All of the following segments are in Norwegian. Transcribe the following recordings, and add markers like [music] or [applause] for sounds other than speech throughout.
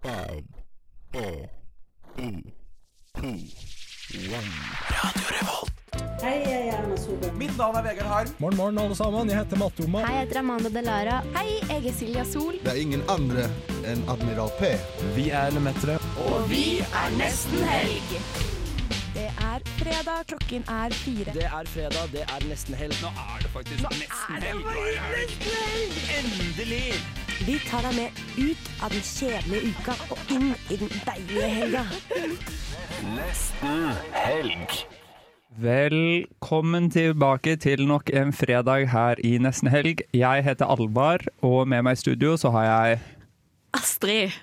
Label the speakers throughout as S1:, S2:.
S1: five, four, three, two, one.
S2: Hei, jeg er Erna Solberg.
S3: Mitt navn er Vegard Harm.
S4: Morgen, morgen, alle sammen. Jeg heter Matte Oma.
S5: Hei, jeg heter Amanda Delara. Hei, jeg er Silja Sol.
S1: Det er ingen andre enn Admiral P.
S4: Vi er Lemetere.
S5: Det er fredag, klokken er fire.
S3: Det er fredag, det er nesten helg. Nå er det faktisk nesten helg. Endelig!
S6: Vi tar deg med ut av den kjedelige uka og inn i den deilige helga.
S7: Velkommen tilbake til nok en fredag her i Nesten Helg. Jeg heter Alvar, og med meg i studio så har jeg
S8: Astrid.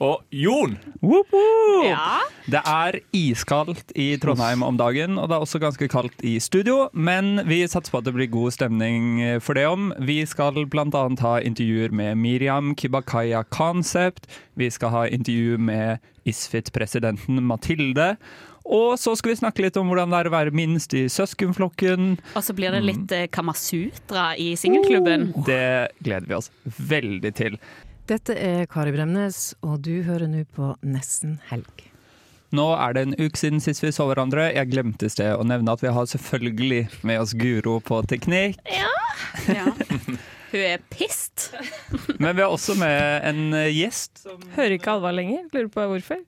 S3: Og Jon!
S7: Woop woop!
S8: Ja.
S7: Det er iskaldt i Trondheim om dagen, og det er også ganske kaldt i studio. Men vi satser på at det blir god stemning for det om. Vi skal bl.a. ha intervjuer med Miriam Kibakaya Concept. Vi skal ha intervju med Isfit-presidenten Mathilde. Og så skal vi snakke litt om hvordan det er å være minst i søskenflokken.
S8: Og så
S3: Mm.
S8: blir det litt eh, Kamasutra i singelklubben.
S3: Oh.
S7: Det gleder vi oss veldig til.
S9: Dette er Kari Bremnes, og du hører nå på Nesten helg.
S7: Nå er det en uke siden sist vi så hverandre. Jeg glemte i sted å nevne at vi har selvfølgelig med oss Guro på teknikk.
S8: Ja. [laughs] Hun er pissed.
S7: Men vi har også med en eh, gjest. som-
S10: Hører ikke Alvar lenger. Lurer på hvorfor.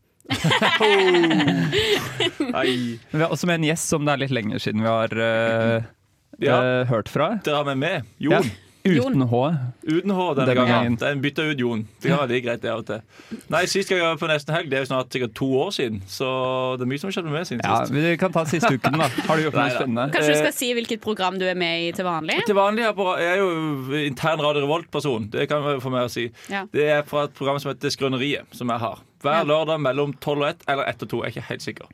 S7: Men vi har også med en gjest som det er litt lenger siden vi har eh,
S3: Ja.
S7: eh, hørt fra.
S3: Dere har med meg.
S7: Ja.
S3: Jon.
S7: Uten H.
S3: Uten H denne
S7: Denne
S3: gangen.
S7: gangen.
S3: Den bytta ut Jon. Det kan være litt greit, det av og til. Nei, Sist gang jeg var på Nesten helg, det er jo snart sikkert to år siden. Så det er mye som har skjedd med meg siden
S7: Ja,
S3: sist.
S7: vi kan ta siste uken, da. Har du gjort noe
S3: Neida.
S7: spennende?
S8: Kanskje
S3: Eh.
S8: du skal si hvilket program du er med i til vanlig?
S3: Til vanlig er jeg på- jeg er jo intern Radio Revolt-person. Det kan jeg få med å si.
S8: Ja.
S3: Det er fra et program som heter Skrøneriet, som jeg har. Hver lørdag mellom 12 og 1, eller 1 og 2. Jeg er ikke helt sikker.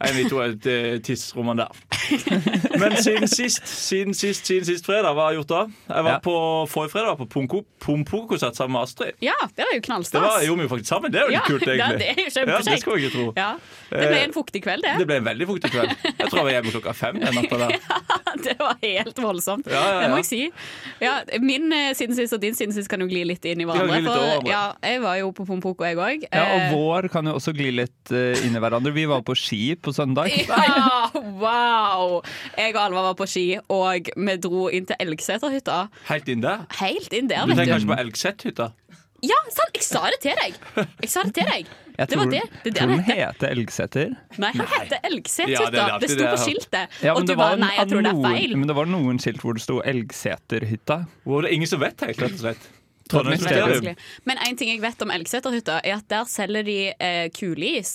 S3: En av de to er eh, tidsrommene der.
S8: [laughs]
S3: Men siden sist, siden sist, siden sist fredag, hva har jeg gjort da? Jeg var
S7: Ja.
S3: på forrige fredag på Pompo- Pompo-konsert sammen med Astrid.
S8: Ja, det var jo
S3: Det var,
S8: knallstas.
S3: gjorde vi jo faktisk sammen. Det er jo
S8: [laughs] Ja,
S3: litt kult,
S8: det-
S3: egentlig.
S8: det er jo
S3: ja, det
S8: kjempekjekt.
S3: skulle jeg ikke tro.
S8: Ja. Det ble
S3: Eh,
S8: en fuktig kveld,
S3: Det
S8: det.
S3: ble en veldig fuktig kveld. Jeg tror jeg var hjemme klokka fem den natta der.
S8: [laughs] Det var helt voldsomt.
S3: Ja, ja,
S8: Det må
S3: ja.
S8: jeg si. Ja, min eh, siden sist og din siden sist kan jo gli litt inn i
S3: kan
S8: hverandre.
S3: gli litt over hverandre.
S8: ja, jeg var jo på Pompoko, jeg Eh, òg.
S7: Ja, og vår kan jo også gli litt eh, inn i hverandre. Vi var på ski på søndag.
S8: Ja, [laughs] wow! Jeg og Alva var på ski, og vi dro inn til Elgseterhytta.
S3: Helt inn der.
S8: Helt inn der,
S3: Du
S8: vet
S3: tenker
S8: du.
S3: kanskje på Elgset-hytta?
S8: Ja, sant! Jeg sa det til deg. Jeg sa det til deg.
S7: Jeg
S8: Det var
S7: tror,
S8: det. Det er det
S7: tror den
S8: det
S7: heter Elgseter.
S8: Nei, han heter
S3: Ja,
S8: Elgseterhytta.
S3: det er alltid
S8: det sto
S3: det
S8: på
S3: jeg har-
S8: skiltet.
S7: Ja, men
S8: og du
S7: det var
S8: bare
S7: en-
S8: nei, jeg tror det er
S7: noen- [laughs]
S8: feil.
S7: Men det var noen skilt hvor det sto Elgseterhytta.
S3: Hvor det er ingen som vet helt, rett og slett.
S7: Det er et
S3: Trondheim
S8: Det er
S7: mysterium.
S3: Mysterium.
S8: vanskelig. Men en ting jeg vet om Elgseterhytta, er at der selger de eh, kuleis.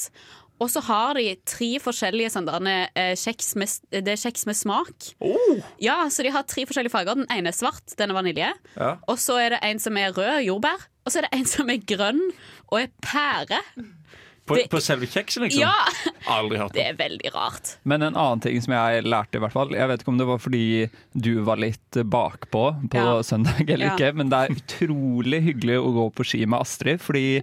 S8: Og så har de tre forskjellige sånne derne, eh, kjeks med, det er kjeks med smak. Ja, så de har tre forskjellige farger. Den ene er svart, den er vanilje.
S3: Ja.
S8: Og så er det en som er rød, jordbær. Og så er det en som er grønn og er pære.
S3: På,
S8: Det-
S3: på selve kjeksen, liksom?
S8: Ja!
S3: Aldri hørt
S8: Det
S3: om.
S8: er veldig rart.
S7: Men en annen ting som jeg lærte, i hvert fall Jeg vet ikke om det var fordi du var litt bakpå på
S8: Ja.
S7: søndag eller
S8: Ja.
S7: ikke, men det er utrolig hyggelig å gå på ski med Astrid, fordi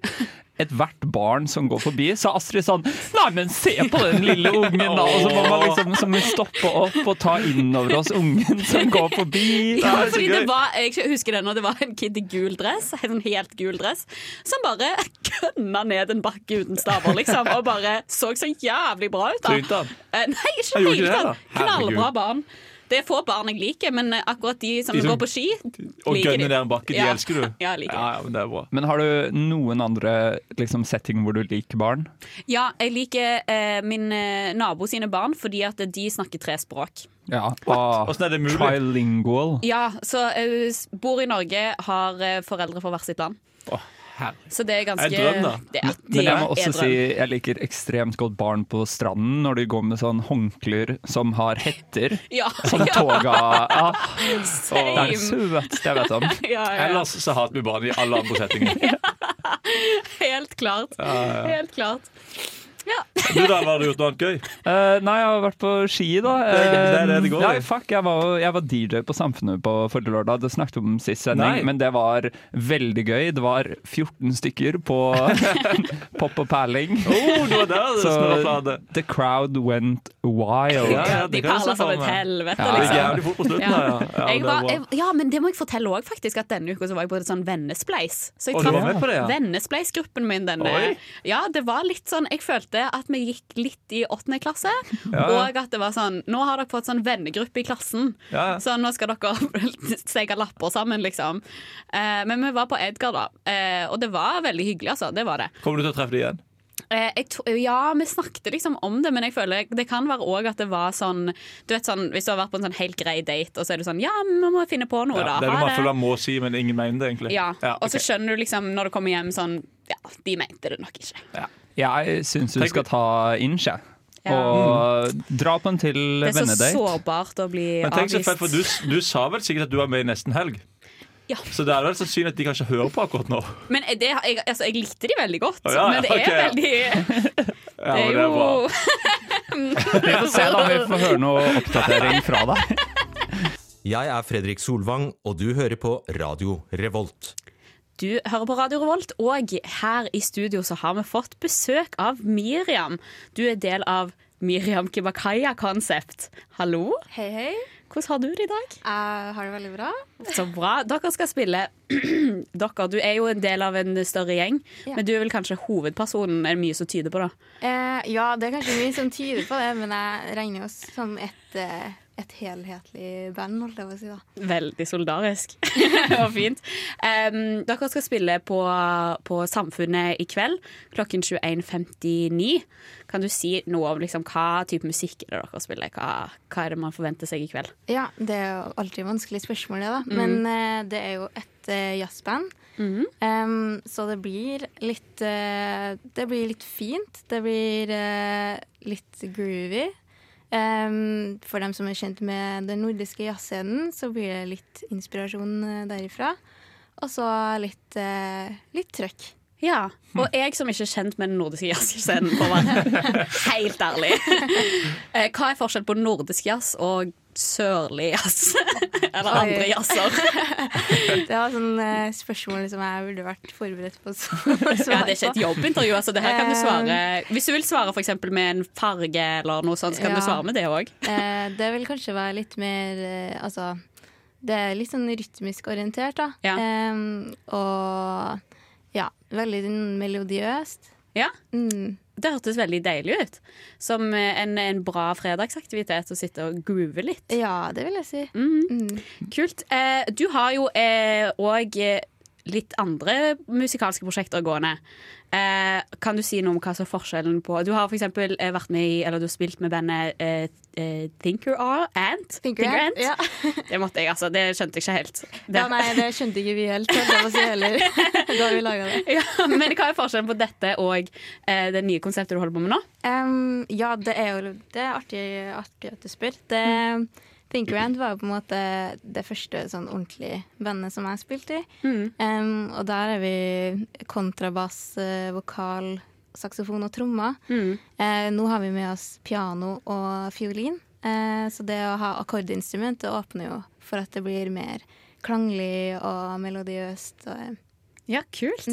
S7: ethvert barn som går forbi, så er Astrid sånn Nei, men se på den lille ungen, da! Og så må man liksom så må vi stoppe opp og ta innover oss ungen som går forbi.
S8: Ja,
S3: det er så
S8: fordi
S3: gøy.
S8: det var, jeg husker det når det var en kid i gul dress, en sånn helt gul dress, som bare kønna ned en bakke uten staver, liksom, og bare så så jævlig bra ut. da.
S3: Trynte han?
S8: Eh, Nei, ikke
S3: Han gjorde ikke
S8: helt.
S3: det,
S8: da.
S3: da? Herregud.
S8: Knallbra barn. Det er få barn jeg liker, men eh, akkurat de som
S3: De som-
S8: går på ski,
S3: Og
S8: liker
S3: gønne ned en bakke, de
S8: Ja.
S3: elsker du?
S8: [laughs] Ja, jeg liker
S3: ja, men det er bra.
S7: Men har du noen andre liksom, setting hvor du liker barn?
S8: Ja, jeg liker eh, min eh, nabo sine barn fordi at de snakker tre språk.
S7: Ja. Ah,
S3: Åssen er det mulig?
S7: trilingual.
S8: Ja, så eh, s- bor i Norge, har eh, foreldre fra hvert sitt land.
S3: Å, herregud.
S8: Så det er ganske
S3: Er det drøm, da?
S8: Det er, det
S7: Men jeg må
S8: er
S7: også
S8: drøm.
S7: si jeg liker ekstremt godt barn på stranden når de går med sånn håndklær som har hetter.
S8: ja,
S3: [laughs]
S7: Som
S8: ja,
S7: toga ah, Det er det
S8: same.
S7: søteste jeg vet om.
S8: Ja, ja.
S3: Ellers så hater vi
S8: [laughs]
S3: barn i alle andre settinger.
S8: Helt klart. Helt klart.
S3: Du da, har du gjort noe annet
S8: [laughs]
S3: gøy?
S7: Eh, nei, jeg har vært på ski, da. Eh,
S3: Det er- det er det det går i.
S7: nei, fuck, jeg var, jeg var DJ på Samfunnet på forrige lørdag. Det snakket vi om sist sending,
S3: Nei.
S7: men det var veldig gøy. Det var 14 stykker
S3: [laughs]
S7: på [laughs] Pop og Perling.
S3: Oh, det var der det snurret fra
S7: Så
S3: det.
S7: the crowd went wild.
S3: Ja, ja, det
S8: De
S3: kan jeg se
S8: perler som
S3: for
S8: et
S3: meg.
S8: helvete,
S7: Ja, det gikk
S8: liksom.
S7: jævlig fort på slutten,
S8: ja.
S7: ja, ja. Ja,
S8: jeg
S7: det
S8: var,
S7: var-
S8: jeg, ja, men det må jeg fortelle òg, faktisk. At denne uka så var jeg på et sånn vennespleis. Så
S3: Å,
S8: jeg
S3: du var med
S8: traff
S3: på det, ja.
S8: vennespleisgruppen min denne
S3: Oi.
S8: Ja, det var litt sånn Jeg følte at vi gikk litt i åttende klasse,
S3: Ja.
S8: og at det var sånn Nå har dere fått sånn vennegruppe i klassen,
S3: Ja.
S8: så nå skal dere [laughs] steke lapper sammen, liksom. Eh, men vi var på Edgar, da, eh, og det var veldig hyggelig, altså. Det var det.
S3: Kommer du til å treffe det igjen?
S8: Eh, jeg tro, ja, vi snakket liksom om det, men jeg føler det kan være òg at det var sånn Du vet sånn, Hvis du har vært på en sånn helt grei date, og så er du sånn Ja, vi må finne på noe,
S3: Ja,
S8: da.
S3: det er noe
S8: Ha
S3: man føler man må si, men ingen mener det, egentlig.
S8: Ja. Og så
S3: ok.
S8: skjønner du liksom når du kommer hjem sånn Ja, de mente det nok ikke.
S7: Jeg syns du skal ta inch, jeg.
S8: Ja. Mm.
S7: Og dra på en til
S8: Det er så
S7: vennedate.
S8: sårbart å bli
S3: Men tenk så fett,
S8: avvist.
S3: for du, du sa vel sikkert at du var med i Nesten helg?
S8: Ja.
S3: Så det er vel sannsynlig at de kanskje hører på akkurat nå.
S8: Men det, jeg, altså, jeg likte de veldig godt,
S3: Å, ja,
S8: men det er
S3: ok, ja.
S8: veldig
S3: Ja,
S8: Det
S3: men
S8: er
S3: det er bra.
S8: jo [laughs]
S7: Vi får [laughs] se da om vi får høre noe oppdatering fra deg.
S11: Jeg er Fredrik Solvang, og du hører på Radio Revolt.
S8: Du hører på Radio Revolt, og her i studio så har vi fått besøk av Miriam. Du er del av Miriam Kibakaya Concept. Hallo.
S10: Hei, hei. Ah.
S8: Hvordan har du det i dag?
S10: Jeg har det veldig bra.
S8: Så bra. Dere skal spille [clears throat] Dere, du er jo en del av en større gjeng,
S10: Ja.
S8: men du er vel kanskje hovedpersonen, er det mye som tyder på, da?
S10: Eh, ja, det er kanskje mye som tyder på det, men jeg regner oss som et, eh, et helhetlig band, holdt jeg på å si. da.
S8: Veldig solidarisk og fint. Em, dere skal spille på, på Samfunnet i kveld klokken 21.59. Kan du si noe om liksom, hva type musikk er det dere spiller? Hva, hva er det man forventer seg i kveld?
S10: Ja, det er jo alltid vanskelig spørsmål, det, da.
S11: Mm.
S8: Mhm.
S10: Men eh, det er jo et eh, jazzband, Em, så det blir litt eh, Det blir litt fint. Det blir eh, litt groovy. Em, for dem som er kjent med den nordiske jazzscenen, så blir det litt inspirasjon eh, derifra. Og så litt, eh, litt trøkk.
S8: Ja,
S10: Hm.
S8: og jeg som ikke er kjent med den nordiske jazzscenen, for å
S10: [laughs]
S8: være helt ærlig. Eh, Hva er forskjellen på nordisk jazz og sørlig jazz? [laughs] Eller andre
S10: Oi.
S8: jazzer?
S10: [laughs] Det var sånn eh, spørsmål som jeg burde vært forberedt på å s- [laughs] å svare på. Eh,
S8: Ja, det er ikke et jobbintervju. Altså, det her kan du svare Hvis du vil svare for eksempel med en farge eller noe sånt, så kan
S10: Ja.
S8: du svare med det òg.
S10: Eh, det vil kanskje være litt mer eh, Altså, det er litt sånn rytmisk orientert, da. Em, og ja, veldig sånn melodiøst.
S8: Ja.
S10: Mm.
S8: Det hørtes veldig deilig ut. Som eh, en, en bra fredagsaktivitet å sitte og groove litt.
S10: Ja, det vil jeg si.
S8: Kult. Eh, du har jo òg litt andre musikalske prosjekter gående. Eh, kan du si noe om hva som er forskjellen på Du har for eksempel eh, vært med i, eller du har spilt med bandet eh, eh, Thinker Ar- Ant. Thinker,
S10: Ant,
S8: Det måtte jeg, altså. Det skjønte jeg ikke [laughs] helt.
S10: Ja, nei, det skjønte ikke vi helt, holdt jeg på å si heller, da vi laga det.
S8: Ja, men hva er forskjellen på dette og eh, det nye konseptet du holder på med nå?
S10: Em, ja, det er jo det er artig, artig at du spør. Det, Think Rand var jo på en måte det første sånn ordentlige bandet som jeg spilte i. Em, og der er vi kontrabass, eh, vokal, saksofon og trommer. Eh, nå har vi med oss piano og fiolin, eh, så det å ha akkordinstrument det åpner jo for at det blir mer klanglig og melodiøst. Og, eh,
S8: Ja, kult.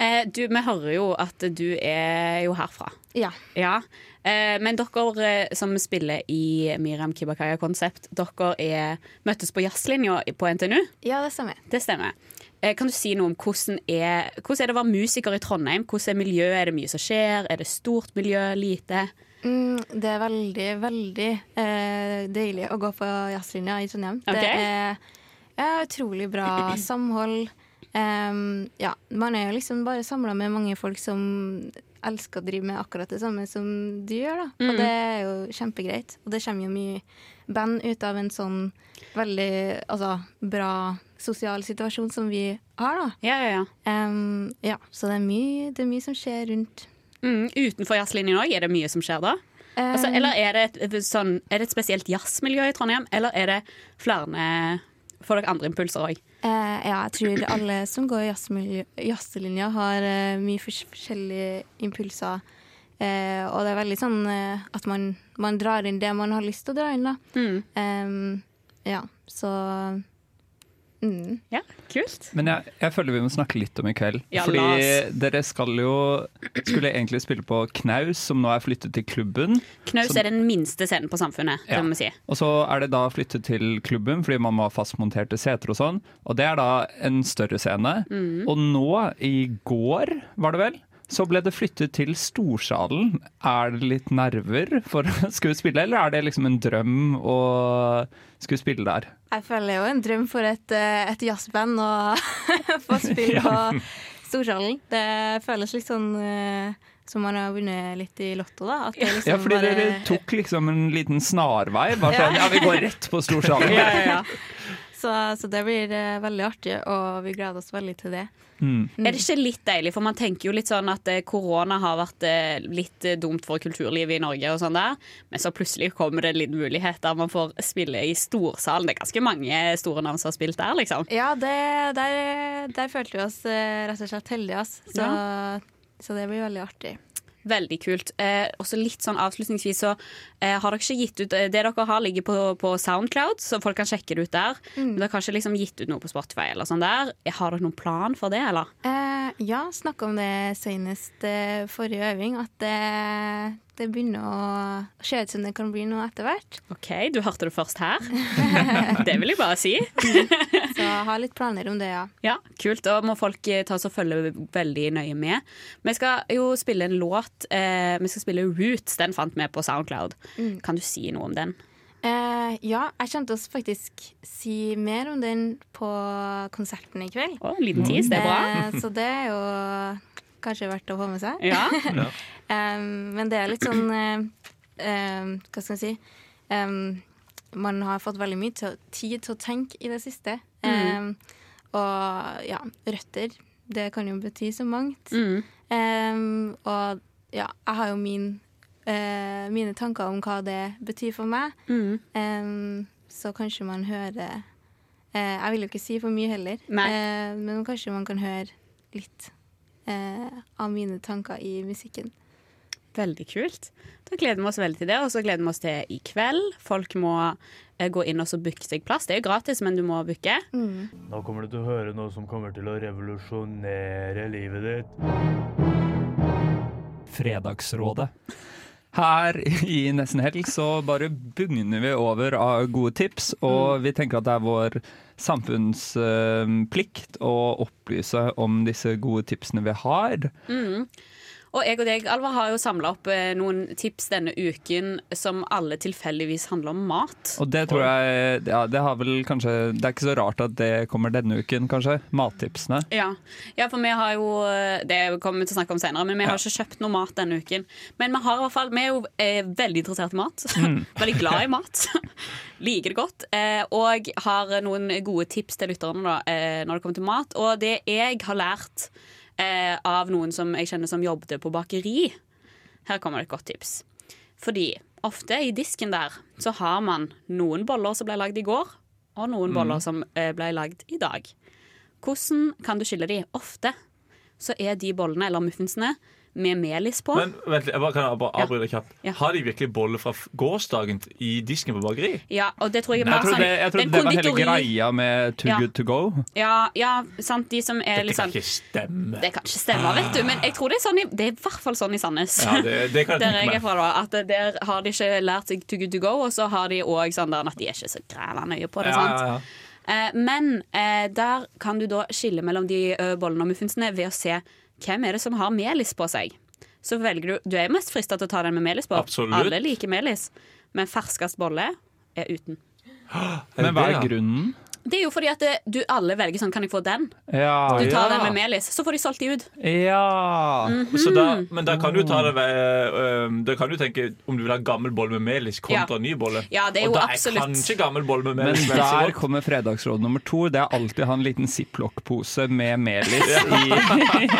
S8: Eh, du, vi hører jo at du er jo herfra.
S10: ja.
S8: Ja. Eh, men dere eh, som spiller i Miriam Kibakaya Konsept, dere er, møttes på jazzlinja i- på NTNU?
S10: ja, det stemmer.
S8: Det stemmer. Eh, kan du si noe om hvordan er, hvordan er det å være musiker i Trondheim? Hvordan er miljøet? Er det mye som skjer? Er det stort miljø? Lite?
S10: Mm, det er veldig, veldig eh, deilig å gå på jazzlinja i Trondheim.
S8: Ok.
S10: Det er ja, utrolig
S8: [clears throat]
S10: bra samhold. Em, ja, man er jo liksom bare samla med mange folk som elsker å drive med akkurat det samme som du gjør, da.
S8: Mm.
S10: Og det er jo kjempegreit. Og det kommer jo mye band ut av en sånn veldig altså, bra sosial situasjon som vi har, da.
S8: Ja, ja, ja.
S10: Em, ja, så det er mye, det er mye som skjer rundt.
S8: Mm, utenfor jazzlinjen òg, er det mye som skjer da? Altså,
S10: Um,
S8: eller er det, et, et sånn, er det et spesielt jazzmiljø i Trondheim, eller er det flere Får dere andre impulser òg?
S10: Eh, ja, jeg tror alle som går jazzmiljø- jazzelinja, har eh, mye fors- forskjellige impulser. Eh, og det er veldig sånn eh, at man, man drar inn det man har lyst til å dra inn, da.
S7: Mm.
S10: Em, ja, så mm.
S8: Ja, kult.
S7: [laughs] Men jeg, jeg føler vi må snakke litt om i kveld.
S8: Ja,
S7: fordi
S8: la oss.
S7: dere skal jo skulle egentlig spille på Knaus, som nå er flyttet til klubben.
S8: Knaus
S7: Så-
S8: er den minste scenen på Samfunnet,
S7: Ja.
S8: det må vi si.
S7: Og så er det da flyttet til klubben fordi man må ha fastmonterte seter og sånn. Og det er da en større scene.
S8: Mm.
S7: Og nå, i går var det vel, så ble det flyttet til Storsalen. Er det litt nerver for å skulle spille, eller er det liksom en drøm å skulle spille der?
S10: Jeg føler jo en drøm for et, eh, et jazzband å [laughs] få spille
S7: Ja.
S10: på Storsalen. Det føles litt sånn eh, som man har vunnet litt i Lotto, da. At det liksom
S7: Ja, fordi
S10: bare-
S7: dere tok liksom en liten snarvei. Bare sånn,
S10: Ja.
S7: ja, vi går rett på
S10: [laughs]
S7: Storsalen.
S10: ja, ja, ja. Så, så det blir eh, veldig artig, og vi gleder oss veldig til det.
S8: Er det ikke litt deilig, for man tenker jo litt sånn at eh, korona har vært eh, litt eh, dumt for kulturlivet i Norge og sånn der, men så plutselig kommer det en liten mulighet der man får spille i storsalen. Det er ganske mange eh, store navn som har spilt der, liksom.
S10: Ja, det, der, der følte vi oss eh, rett og slett heldige, ass. Så, så det blir veldig artig.
S8: Veldig kult. Eh, også litt sånn avslutningsvis så eh, har dere ikke gitt ut eh, Det dere har ligger på, på Soundcloud, så folk kan sjekke det ut der. Men dere har ikke liksom gitt ut noe på Spotify eller sånn der. Har dere noen plan for det, eller?
S10: Eh, ja, snakka om det senest eh, forrige øving, at det, det begynner å se ut som det kan bli noe etter
S8: [laughs]
S10: hvert.
S8: OK, du hørte det først her. det vil jeg bare si.
S10: Så ha litt planer om det, ja.
S8: Ja, kult. Da må folk eh, ta oss og følge veldig nøye med. Vi skal jo spille en låt. Eh, vi skal spille Roots. Den fant vi på Soundcloud.
S10: Mm.
S8: Kan du si noe om den?
S10: Eh, ja, jeg kommer til å faktisk si mer om den på konserten i kveld.
S8: Å, en liten tease, det er bra.
S10: Eh, så det er jo kanskje verdt å få med
S8: [laughs]
S10: seg.
S8: Ja.
S10: Eh, men det er litt sånn eh, eh, Hva skal jeg si Eh, Man har fått veldig mye til, tid til å tenke i det siste. Eh,
S8: Mm.
S10: og ja, røtter. Det kan jo bety så mangt.
S8: Mm.
S10: Eh, og ja, jeg har jo min, eh, mine tanker om hva det betyr for meg.
S8: Mm.
S10: Eh, så kanskje man hører eh, Jeg vil jo ikke si for mye heller, eh, men kanskje man kan høre litt eh, av mine tanker i musikken.
S8: Veldig kult. Da gleder vi oss veldig til det, og så gleder vi oss til i kveld. Folk må eh, gå inn og så booke seg plass. Det er jo gratis, men du må booke.
S12: Nå kommer du til å høre noe som kommer til å revolusjonere livet ditt.
S7: Fredagsrådet. Her i Nesten Helg så bare bugner vi over av gode tips, og vi tenker at det er vår samfunnsplikt å opplyse om disse gode tipsene vi har.
S8: Mm. Og jeg og deg, Alva, har jo samla opp eh, noen tips denne uken som alle tilfeldigvis handler om mat.
S7: Og det tror jeg ja, Det har vel kanskje Det er ikke så rart at det kommer denne uken, kanskje. Mattipsene.
S8: Ja. ja, for vi har jo eh, Det kommer vi til å snakke om senere, men vi
S7: Ja.
S8: har ikke kjøpt noe mat denne uken. Men vi, har i hvert fall, vi er jo eh, veldig interessert i mat.
S7: Mm.
S8: [laughs] veldig glad i mat. Liker det godt. Eh, og har noen gode tips til lytterne da, eh, når det kommer til mat. Og det jeg har lært eh, av noen som jeg kjenner som jobbet på bakeri Her kommer det et godt tips. Fordi ofte i disken der så har man noen boller som ble lagd i går, og noen
S13: Mm.
S8: boller som eh, ble lagd i dag. Hvordan kan du skille de? Ofte så er de bollene, eller muffinsene, med melis på.
S3: Men vent, litt, jeg bare kan jeg bare avbryte deg kjapt.
S8: Ja.
S3: Har de virkelig boller fra f- gårsdagen t- i disken på bakeri?
S8: ja, og det tror jeg
S7: Jeg
S8: er mer
S7: trodde
S8: sånn
S7: det, jeg trodde
S8: en
S7: det var hele
S8: konditori-
S7: greia med Too
S8: Ja.
S7: Good To Go.
S8: Ja, ja, sant, de som er litt
S3: Dette kan
S8: sånn
S3: ikke stemme.
S8: Det kan ikke stemme, vet du, men jeg tror det er sånn i, Det er i hvert fall sånn i Sandnes.
S3: Ja, det- det kan jeg
S8: [laughs] der
S3: tenke
S8: jeg
S3: meg.
S8: er fra, da. At der har de ikke lært seg to good to go, og så har de òg sånn der at de er ikke så græla nøye på det.
S3: Ja,
S8: sant?
S3: ja, ja.
S8: Eh, Men eh, der kan du da skille mellom de eh, bollene og muffinsene ved å se hvem er det som har melis på seg. Så velger du Du er mest frista til å ta den med melis på.
S7: Absolutt.
S8: Alle liker melis. Men ferskest bolle er uten.
S7: Men hva
S3: det, ja?
S7: er grunnen?
S8: Det er jo fordi at eh, du alle velger sånn Kan jeg få den?
S7: Ja,
S8: Du
S3: Ah, ja.
S8: tar den med melis, så får de solgt de ut.
S7: Ja
S3: Så da,
S8: Mhm.
S3: men da kan du ta det ved, øhm, Da kan du tenke om du vil ha gammel bolle med melis kontra ny bolle.
S8: Ja, det er
S3: Og
S8: jo
S3: da
S8: absolutt-
S3: er kanskje gammel bolle med
S7: Men
S3: melis vel så
S7: der
S3: godt.
S7: kommer fredagsråd nummer to. Det er alltid å ha en liten ziplock-pose med melis i, i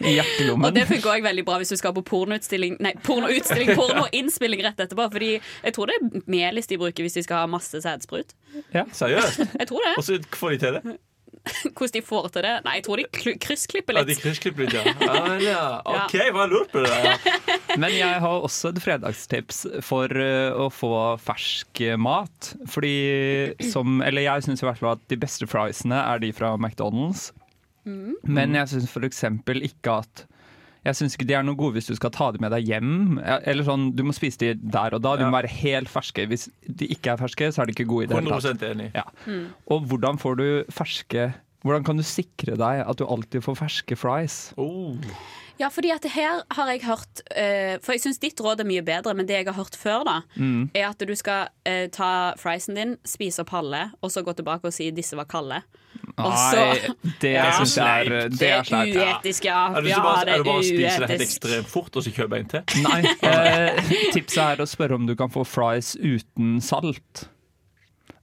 S8: [laughs] Og
S7: jakkelommen.
S8: det funker òg veldig bra hvis du skal på pornoutstilling Nei, pornoutstilling, pornoinnspilling rett etterpå. Fordi jeg tror det er melis de bruker hvis de skal ha masse sædsprut.
S7: Ja.
S3: Seriøst?
S8: Jeg tror det.
S3: Og så får de til det?
S8: [laughs] Hvordan de får til det? Nei, jeg tror de klu- kryssklipper
S3: Ja, de
S8: [laughs] litt.
S3: kryssklipper litt, ja. Ja, vel, ja. OK, hva lurt på det der?
S7: Men jeg har også et fredagstips for eh, å få fersk eh, mat. Fordi som Eller jeg syns i hvert fall at de beste friesene er de fra McDonald's.
S8: Mm.
S7: Men jeg syns f.eks. ikke at jeg synes ikke de er noe gode hvis du skal ta de med deg hjem. Ja, Eller sånn, Du må spise de der og da. De må være helt ferske. Hvis de ikke er ferske, så er de ikke gode i det hele
S3: 100
S7: tatt.
S3: enig.
S7: Ja. Og hvordan får du ferske Hvordan kan du sikre deg at du alltid får ferske fries?
S8: Oh. Ja, fordi at her har jeg hørt eh, For jeg syns ditt råd er mye bedre, men det jeg har hørt før, da,
S7: Mm.
S8: er at du skal eh, ta friesen din, spise opp halve, og så gå tilbake og si 'disse var kalde'. Og så-
S7: Nei, det
S3: Ja.
S7: synes jeg er Det er sleipt.
S8: uetisk, ja.
S3: Er det,
S8: Ja,
S3: så bare,
S8: det er
S3: er det bare å spise det helt
S8: uetisk.
S3: ekstremt fort og så kjøpe en til?
S8: [laughs]
S7: Nei. Eh, tipset er å spørre om du kan få fries uten salt.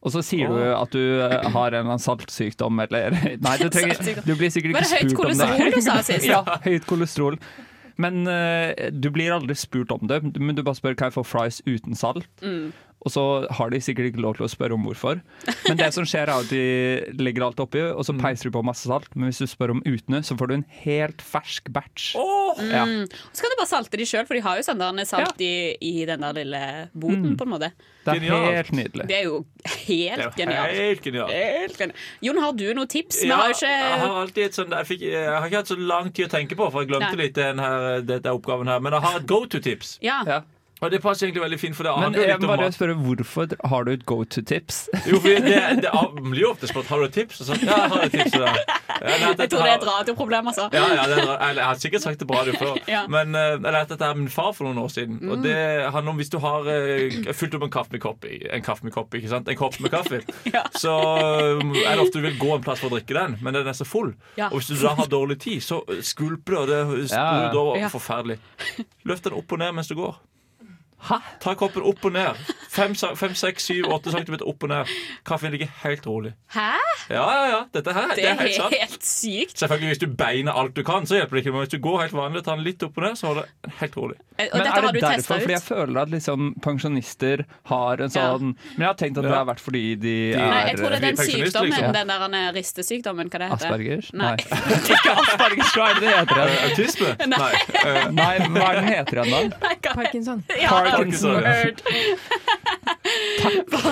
S7: Og så sier du at du eh, har en eller annen saltsykdom eller Nei, du, trenger,
S8: Saltsykdom.
S7: du blir sikkert
S8: Var
S7: ikke
S8: det høyt
S7: spurt om det.
S8: kolesterol du sa sist?
S7: [laughs] Ja, høyt kolesterol. Men eh, du blir aldri spurt om det. Men du bare spør kan jeg få fries uten salt.
S8: Mm.
S7: Og så har de sikkert ikke lov til å spørre om hvorfor. Men det som skjer er at de legger alt oppi, og
S8: Mm.
S7: så peiser du på masse salt. Men hvis du spør om utene, så får du en helt fersk batch. Ja.
S8: Mm. Og Så kan du bare salte de sjøl, for de har jo sånn der salt i, i den der lille boden,
S7: Mm.
S8: på en måte.
S7: Det er Genialt. helt nydelig.
S8: Det er jo helt
S3: Det er jo
S8: genialt.
S3: helt genialt.
S8: Helt geni- Jon, har du noen tips? Vi
S3: Ja,
S8: har jo
S3: jeg har
S8: ikke
S3: alltid et sånt, jeg, fikk, jeg har ikke hatt så lang tid å tenke på, for jeg glemte
S8: Nei.
S3: litt den her, dette oppgaven her. Men jeg har et go to-tips.
S8: Ja.
S3: Og det passer egentlig veldig fint, for det
S7: Men
S3: handler jo
S7: jeg
S3: litt
S7: må
S3: om
S7: bare
S3: mat.
S7: spørre, hvorfor har du et go to-tips?
S3: Jo, for det, det blir jo ofte spurt Har du et tips. Og sånn, ja, jeg har et tips. Og
S8: [laughs]
S3: da. Ja, nei,
S8: Jeg
S3: dette
S8: tror det er
S3: her-
S8: et radioproblem, altså.
S3: Ja, ja, det er, bra. Eller, jeg har sikkert sagt det bra du før.
S8: Ja.
S3: Men eh, jeg lærte dette av min far for noen år siden.
S8: Mm.
S3: Og det handler om hvis du har eh, fylt opp en kaffe med kopp, i- en kaffe med kopp, ikke sant? En kopp med kaffe, så um, er det ofte du vil gå en plass for å drikke den, men den er så full.
S8: Ja.
S3: Og hvis du da har dårlig tid, så eh, skvulper det, og det
S7: Ja, ja.
S3: spruter over.
S7: Ja.
S3: Forferdelig. Løft den opp og ned mens du går. Ta koppen opp og ned. 5, 6, 7, 8 cm opp og ned. Kaffen ligger helt rolig.
S8: Hæ?
S3: Ja, ja, ja. Dette her, det er helt sant.
S8: helt sykt.
S3: Selvfølgelig Hvis du beiner alt du kan, så hjelper det ikke. Men hvis du går helt vanlig og tar den litt opp og ned, så holder det helt rolig.
S7: Men er det derfor? Fordi jeg føler at liksom pensjonister har en sånn Men jeg har tenkt at det
S3: Ja.
S7: har vært fordi de
S3: De-
S7: er
S8: Nei, jeg tror det er den
S7: de pensjonister,
S8: sykdommen,
S7: liksom.
S8: den der han er ristesykdommen, hva det heter.
S7: Aspergers?
S8: Nei.
S7: [laughs]
S8: [laughs]
S7: Ikke aspergers, hva er det det heter?
S3: [laughs] Autisme?
S8: Nei.
S7: Nei, hva er den heter igjen, da?
S9: Parkinson.
S8: Ja,
S7: Parkinson, ja.
S8: nerd. Parkinsons,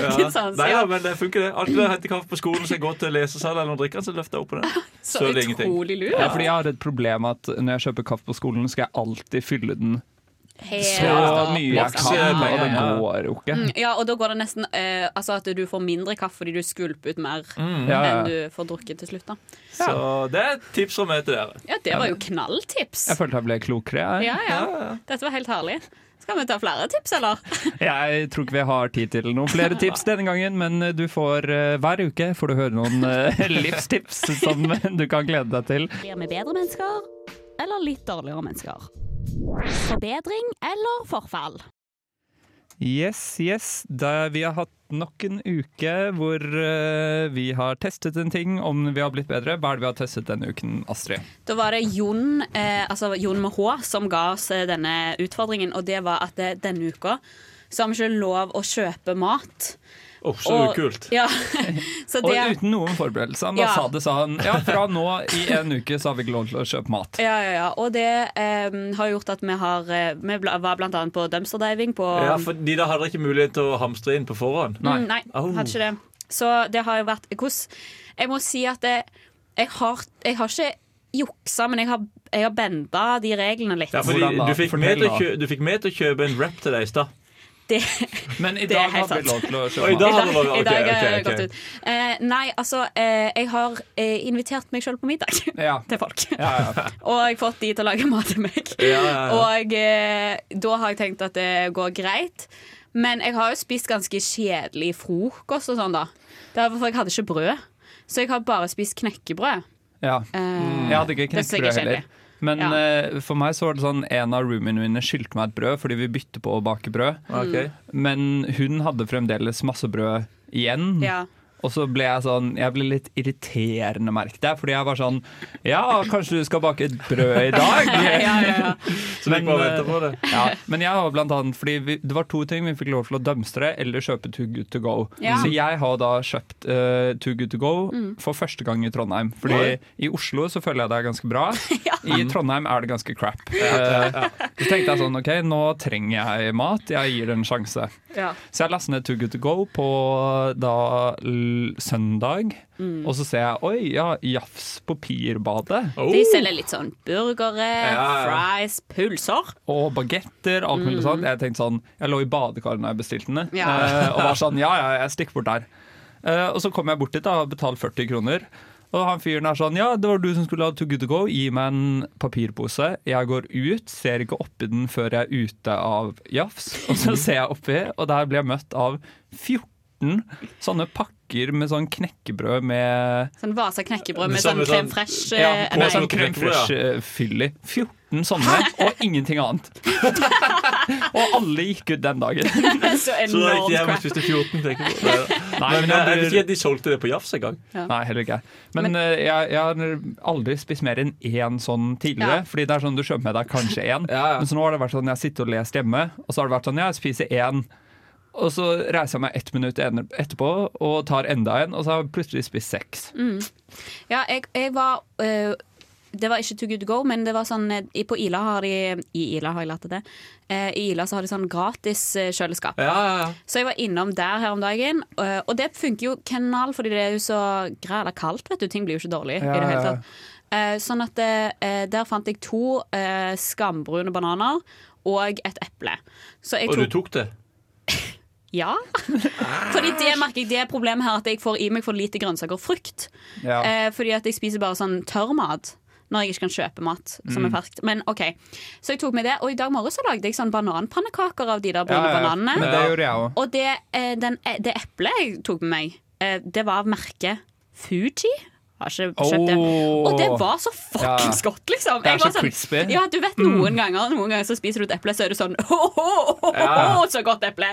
S3: Nei da,
S8: sånn, ja.
S3: men det funker, det. Alltid når jeg henter kaffe på skolen, så jeg går til lesesalen eller noe drikker, så løfter jeg opp og ned.
S8: [laughs] Så
S3: er det ingenting.
S8: utrolig lur.
S7: Ja, fordi jeg har et problem at når jeg kjøper kaffe på skolen, skal jeg alltid fylle den
S8: Helt
S7: så
S8: da.
S7: mye jeg kan, og det går jo ikke.
S8: Mm, ja, og da går det nesten eh, Altså at du får mindre kaffe fordi du skvulper ut mer
S3: Mm.
S7: Ja, ja.
S8: enn du får drukket til slutt. da
S3: Så det er et tips fra meg til dere.
S8: Ja, det var jo knalltips.
S7: Jeg følte jeg ble klokere. jeg.
S8: Ja, ja. Dette var helt herlig. Skal vi ta flere tips, eller?
S7: Jeg tror ikke vi har tid til noen flere tips denne gangen, men du får eh, hver uke får du høre noen eh, [laughs] livstips som du kan glede deg til.
S8: [laughs] Blir vi bedre mennesker, eller litt dårligere mennesker? Forbedring eller forfall?
S7: Yes, yes. Da vi har hatt nok en uke hvor eh, vi har testet en ting, om vi har blitt bedre. Hva er det vi har testet denne uken, Astrid?
S8: Da var det Jon, eh, altså Jon med H som ga oss eh, denne utfordringen, og det var at eh, denne uka så har vi ikke lov å kjøpe mat.
S3: Åh, så
S8: Og-
S3: ukult.
S8: Ja, [laughs] så det,
S7: Og uten noen forberedelse. Han bare
S8: Ja.
S7: sa det, sa han. Ja, fra nå i en uke så har vi ikke lov til å kjøpe mat.
S8: ja, ja, ja. Og det eh, har gjort at vi har eh, Vi bla- var blant annet på dumpsterdiving på
S3: Ja, for de da hadde ikke mulighet til å hamstre inn på forhånd.
S8: Mm, nei hadde ikke det. Så det har jo vært hvordan, Jeg må si at det, jeg, har, jeg har ikke juksa, men jeg har, jeg har benda de reglene litt.
S3: Ja, fordi du fikk, meg til å kjø, du fikk meg til å kjøpe en wrap til deg i stad.
S8: Mm. Det,
S7: Men i
S8: det
S7: dag
S8: er helt
S7: har vi
S8: sant.
S7: lov til å
S3: Oi,
S7: kjøpe
S3: i dag har vi
S7: mat.
S3: lov-
S8: I dag
S3: ok,
S8: er
S3: ok,
S8: jeg
S3: ok.
S8: gått ut. Eh, nei, altså, eh, jeg har eh, invitert meg sjøl på middag [laughs]
S7: Ja.
S8: til folk.
S7: Ja, ja.
S8: Og jeg har fått de til å lage mat til meg.
S7: Ja, ja, ja.
S8: Og eh, da har jeg tenkt at det går greit. Men jeg har jo spist ganske kjedelig frokost og sånn, da. Derfor for jeg hadde ikke brød. Så jeg har bare spist knekkebrød.
S7: Ja.
S8: Eh,
S7: Jeg hadde ikke
S8: det synes jeg
S7: knekkebrød
S8: er kjedelig.
S7: heller. Men
S8: Ja.
S7: eh, for meg så var det sånn en av roomene mine skyldte meg et brød fordi vi bytter på å bake brød.
S8: Ok. Mm.
S7: Men hun hadde fremdeles masse brød igjen.
S8: Ja.
S7: Og så ble jeg sånn Jeg ble litt irriterende, merket jeg. Fordi jeg var sånn Ja, kanskje du skal bake et brød i
S8: [laughs]
S7: dag?
S3: Ja, ja, ja. Så du ikke bare
S7: eh,
S3: venter på det.
S7: Ja, [laughs] men jeg har blant annet Fordi vi, det var to ting vi fikk lov til å dømstre eller kjøpe Too Good To Go.
S14: Ja.
S7: Så jeg har da kjøpt uh, Too Good To Go
S14: Mm.
S7: for første gang i Trondheim.
S14: Oi.
S7: Fordi i Oslo så føler jeg det er ganske
S14: [laughs]
S7: bra. I Trondheim er det ganske crap.
S14: ja,
S7: Eh, Så tenkte jeg sånn, ok, nå trenger jeg mat. Jeg gir det en sjanse.
S14: Ja.
S7: Så jeg lastet ned Too Good To Go på da l søndag.
S8: Mm.
S7: Og så ser jeg oi, ja, Jafs på
S14: Oh.
S7: Pirbadet.
S8: De selger litt sånn burgere,
S7: Oh. Ja, ja.
S8: fries, pulser.
S7: Og bagetter, alt mulig
S8: Mm.
S7: sånt. Jeg tenkte sånn, jeg lå i badekaret da jeg bestilte den,
S8: Ja.
S7: eh, og var
S8: [laughs]
S7: sånn ja, ja, jeg stikker bort der. Eh, og så kom jeg bort dit da, og betalte 40 kroner. Og han fyren er sånn ja, det var du som skulle ha to good to go, gi meg en papirpose. Jeg går ut, ser ikke oppi den før jeg er ute av jafs. Og så ser jeg oppi, og der blir jeg møtt av 14 sånne pakker med sånn knekkebrød med
S8: Sånn Vasa knekkebrød med
S7: Samme sånn-
S8: sånn crème fresh.
S7: ja,
S8: eh,
S7: på
S8: nei.
S7: sånn crème fresh-fylli. 14 sånne, og ingenting annet. og alle gikk ut den dagen.
S8: [laughs]
S3: Så
S8: Så
S3: da gikk
S8: enormt
S3: de hjem og
S8: crap.
S3: spiste 14, tenker jeg på. Nei, da.
S7: Nei,
S3: men eh,
S7: men jeg
S3: jeg vet
S7: blir-
S3: ikke at de solgte det på Jafs engang.
S8: Ja.
S7: Nei, heller ikke jeg. Men, eh, jeg, jeg har aldri spist mer enn én sånn tidligere.
S8: Ja.
S7: Fordi det er sånn du kjøper med deg kanskje én. Men så nå har det vært sånn jeg sitter og lest hjemme, og så har det vært sånn jeg spiser én. Og så reiser jeg meg ett minutt en- etterpå og tar enda en, og så har jeg plutselig spist seks.
S8: Mm. Ja, jeg, jeg var eh, Det var ikke Too Good To Go, men det var sånn eh, i- På Ila har de I Ila har jeg lært det. Eh, I Ila så har de sånn gratis eh, kjøleskap. Så jeg var innom der her om dagen, eh, og det funker jo kanal, fordi det er jo så græla kaldt, vet du. Ting blir jo ikke dårlig
S15: Ja,
S8: i det
S15: ja,
S8: hele
S15: ja.
S8: tatt. Eh, Sånn at eh, der fant jeg to eh, skambrune bananer og et eple. Så jeg
S3: Og du tok det?
S8: Ja. [laughs] Fordi det merker jeg det er problemet her, at jeg får i meg for lite grønnsaker og frukt.
S15: Ja.
S8: Eh, fordi at jeg spiser bare sånn tørr mat når jeg ikke kan kjøpe mat som
S15: Mm.
S8: er ferskt. Men OK. Så jeg tok med det, og i dag morges så lagde jeg sånn bananpannekaker av de der
S7: Ja,
S8: brune
S7: ja,
S8: bananene.
S7: men det gjorde jeg også.
S8: Og det, eh, den, eh, det eplet jeg tok med meg, eh, det var av merket Fuji. Har ikke kjøpt det.
S7: Åh.
S8: Og det var så fuckings
S7: Ja.
S8: godt, liksom.
S7: Det er
S8: Jeg var
S7: så crispy. Mm.
S8: Ja, du vet noen ganger Noen ganger så spiser du et eple, så er du sånn [laughs] Åh,
S7: Ja.
S8: så godt eple!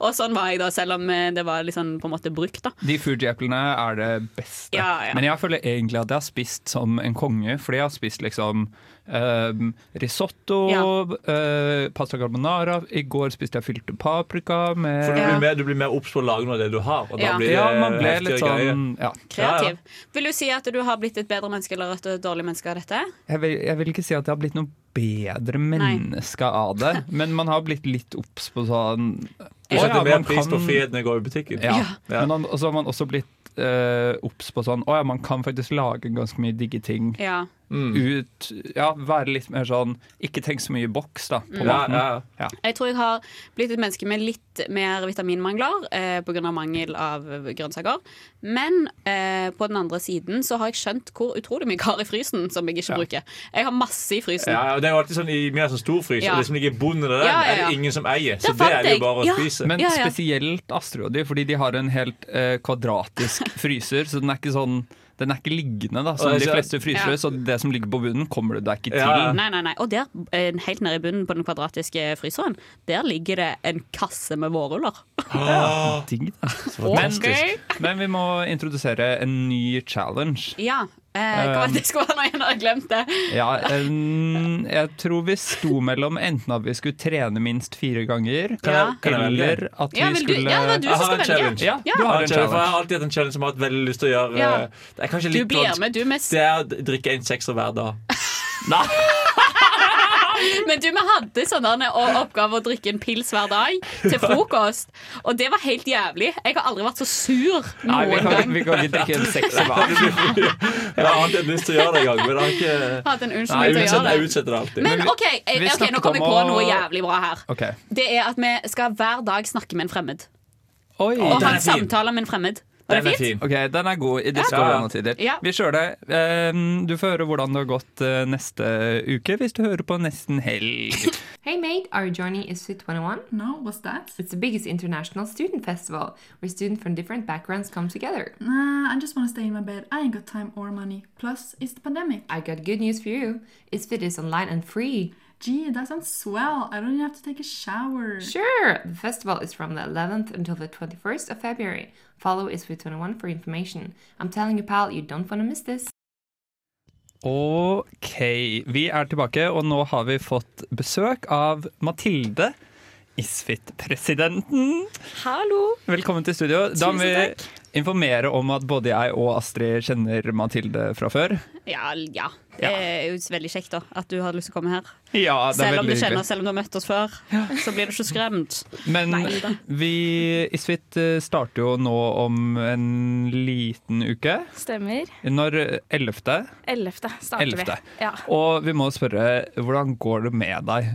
S8: Og sånn var jeg da, selv om eh, det var litt sånn på en måte brukt, da.
S7: De Fuji-eplene er det beste.
S8: Ja, ja.
S7: Men jeg føler egentlig at jeg har spist som en konge, fordi jeg har spist liksom ehm, risotto, eh, pasta carbonara I går spiste jeg fylte paprika med
S3: For du blir mer, du blir mer obs på å lage noe av det du har. Og da
S8: Ja.
S3: blir det
S7: Ja, man ble
S3: heftigere
S7: litt
S3: greier.
S7: sånn ja.
S8: Kreativ. Vil du si at du har blitt et bedre menneske eller et dårlig menneske av dette?
S7: Jeg, vil, jeg vil ikke si at jeg har blitt noe bedre menneske av det, men man har blitt litt obs på sånn
S3: Du
S7: Å
S3: setter
S7: ja,
S3: mer
S7: man
S3: pris på
S7: kan-
S3: friheten når jeg går i butikken.
S7: Ja. Men han, og så har man også blitt eh, obs på sånn Å ja, man kan faktisk lage ganske mye digge ting.
S8: Ja.
S7: Mm.
S3: Mm.
S7: Ut, ja, være litt mer sånn Ikke tenk så mye i boks, da, på
S8: Mm. Ja,
S7: maten.
S8: ja,
S7: Ja.
S8: Jeg tror jeg har blitt et menneske med litt mer vitaminmangler eh, pga. mangel av grønnsaker. Men eh, på den andre siden så har jeg skjønt hvor utrolig mye jeg har i frysen som jeg ikke bruker. Jeg har masse i frysen.
S3: Ja, og det er jo alltid sånn i mer sånn storfrys,
S8: Ja.
S3: og det som ligger i bunnen av den,
S8: Ja, ja, ja.
S3: er det ingen som eier.
S8: Der
S3: Så det
S8: fant
S3: er det
S8: jeg.
S3: jo bare å
S8: Ja.
S3: spise.
S7: Men
S8: Ja, ja.
S7: spesielt Astrid og de, fordi de har en helt eh,
S8: [laughs]
S7: kvadratisk fryser, så den er ikke sånn den er ikke liggende, da, som
S3: Og
S7: de
S3: så-
S7: fleste frysere.
S8: Ja.
S7: Så det som ligger på bunnen, kommer du deg ikke til.
S8: Nei, nei, nei. Og der, eh, helt nede i bunnen på den kvadratiske fryseren, der ligger det en kasse med vårruller.
S7: Ja, digg, [laughs] da.
S8: fantastisk.
S7: Men, men vi må introdusere en ny challenge.
S8: Ja. Eh, hva
S3: Um,
S8: var det det skulle være nå igjen? Jeg har glemt det.
S7: Ja, en, jeg tror vi sto mellom enten at vi skulle trene minst fire ganger,
S3: Kan jeg- kan jeg velge?
S7: eller at vi
S8: Ja, vil du-
S7: skulle
S8: ja, det var du
S3: Jeg
S8: som
S3: har en
S8: skulle velge.
S3: challenge.
S7: Ja,
S8: Ja.
S7: du
S3: Jeg har
S7: har
S3: en challenge,
S7: en
S3: for jeg
S7: challenge.
S3: har alltid hatt en challenge som jeg har hatt veldig lyst til å gjøre.
S8: Ja.
S3: eh, Det er kanskje
S8: Du
S3: litt
S8: blir
S3: vanskelig.
S8: med, du med s-
S3: Det er å drikke en sekser hver dag. [laughs]
S7: Nei.
S8: Men du, vi hadde sånn der, og oppgave å drikke en pils hver dag til frokost. Og det var helt jævlig. Jeg har aldri vært så sur
S7: Nei, vi
S8: noen
S7: kan,
S8: gang.
S7: vi kan ikke drikke en
S3: [laughs]
S7: sekser hver.
S3: Jeg har alltid lyst til å gjøre det en gang, men jeg har ikke
S8: Hatt en unnskyldning
S3: Nei,
S8: til
S3: uansett,
S8: å gjøre det.
S3: Jeg utsetter det alltid.
S8: Men OK, eh,
S7: vi
S8: ok, nå
S7: snakket
S8: kom jeg
S7: om
S8: på
S7: å-
S8: noe jævlig bra her.
S7: Ok.
S8: Det er at vi skal hver dag snakke med en fremmed.
S7: Oi.
S8: Og ha en samtale med en fremmed. Var det fint?
S7: Ok, den er god i disse
S8: Ja.
S7: koronatider.
S8: Ja.
S7: Vi kjører det. Ehm, Du får høre hvordan det har gått eh, neste uke hvis du hører på Nesten helg.
S16: Hey mate, our journey is to 21. No, what's that? It's the biggest international student festival where students from different backgrounds come together.
S15: Nah, I just want to stay in my bed. I ain't got time or money. Plus, it's the pandemic.
S16: I got good news for you. It's fit is online and free.
S15: Gee, that sounds swell. I don't even have to take a shower.
S16: Sure! The festival is from the 11th until the 21st of February. Follow ISFI21 for information. I'm telling you, pal, you don't want to miss this.
S7: OK. Vi er tilbake, og nå har vi fått besøk av Mathilde, Isfit-presidenten.
S14: Hallo!
S7: Velkommen til studio. Da må
S8: Tusen
S7: vi informere om at både jeg og Astrid kjenner Mathilde fra før.
S8: Ja, ja. Det er jo veldig kjekt da, at du hadde lyst til å komme her.
S7: Ja, det er
S8: selv om du
S7: veldig
S8: kjenner,
S7: hyggelig.
S8: selv om du har møtt oss før, så blir du ikke skremt.
S7: Men
S8: Neida.
S7: vi Isfit eh, starter jo nå om en liten uke.
S10: Stemmer.
S7: Når 11.
S10: 11. starter
S7: 11..
S10: vi. Ja.
S7: Og vi må spørre, hvordan går det med deg?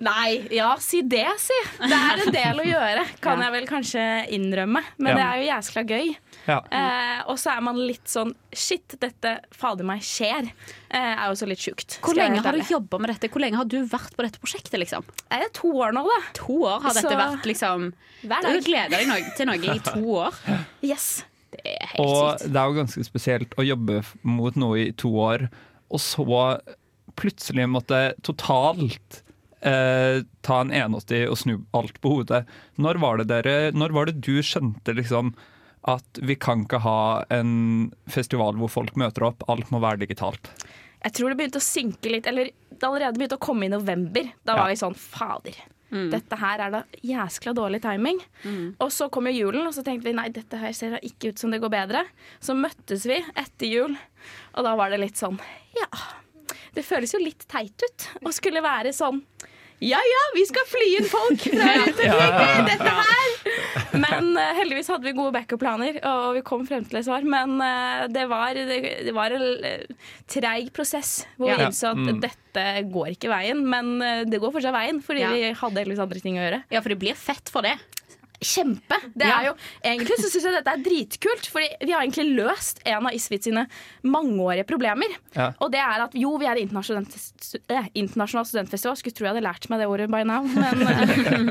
S10: Nei, ja, si det, si. Det er en del å gjøre, kan jeg vel kanskje innrømme. Men
S7: Ja.
S10: det er jo jæskla gøy.
S7: Ja.
S8: Mm.
S10: Eh, og så er man litt sånn Shit, dette fader meg skjer. Eh, er jo så litt sjukt.
S8: Hvor lenge har du jobba med dette? Hvor lenge har du vært på dette prosjektet? liksom?
S10: Er det to år nå, da?
S8: To år har dette
S10: Så-
S8: vært liksom
S10: Hver
S8: Du
S10: dag.
S8: gleder deg noe, til noe [laughs] i to år.
S10: Yes. Det er helt
S7: Og
S10: sykt.
S7: det er jo ganske spesielt å jobbe f- mot noe i to år, og så plutselig måtte totalt eh, ta en 81 og snu alt på hodet. Når var det dere Når var det du skjønte liksom at vi kan ikke ha en festival hvor folk møter opp, alt må være digitalt?
S10: Jeg tror det begynte å synke litt, eller det allerede begynte å komme i november. Da var
S7: Ja.
S10: vi sånn fader. Dette her er da jæskla dårlig timing. Og så kom jo julen, og så tenkte vi nei, dette her ser da ikke ut som det går bedre. Så møttes vi etter jul, og da var det litt sånn ja. Det føles jo litt teit ut å skulle være sånn ja ja, vi skal fly inn folk fra rundt omkring! Dette her! [laughs] Men eh, heldigvis hadde vi gode backup-planer, og vi kom frem til et svar. Men eh, det var, det, det var en eh, treig prosess hvor vi
S8: Ja.
S10: innså at
S8: Mm.
S10: dette går ikke veien. Men eh, det går fortsatt veien, fordi
S8: Ja.
S10: vi hadde heldigvis andre ting å gjøre.
S8: Ja, for det blir fett for det.
S10: Kjempe! Det
S8: Ja.
S10: er jo, egentlig så syns jeg dette er dritkult, Fordi vi har egentlig løst en av Isfit sine mangeårige problemer.
S7: Ja.
S10: Og det er at jo, vi er internasjonal, stu- eh, internasjonal studentfestival. Skulle tro jeg hadde lært meg det ordet by now,
S8: [laughs]
S10: men eh,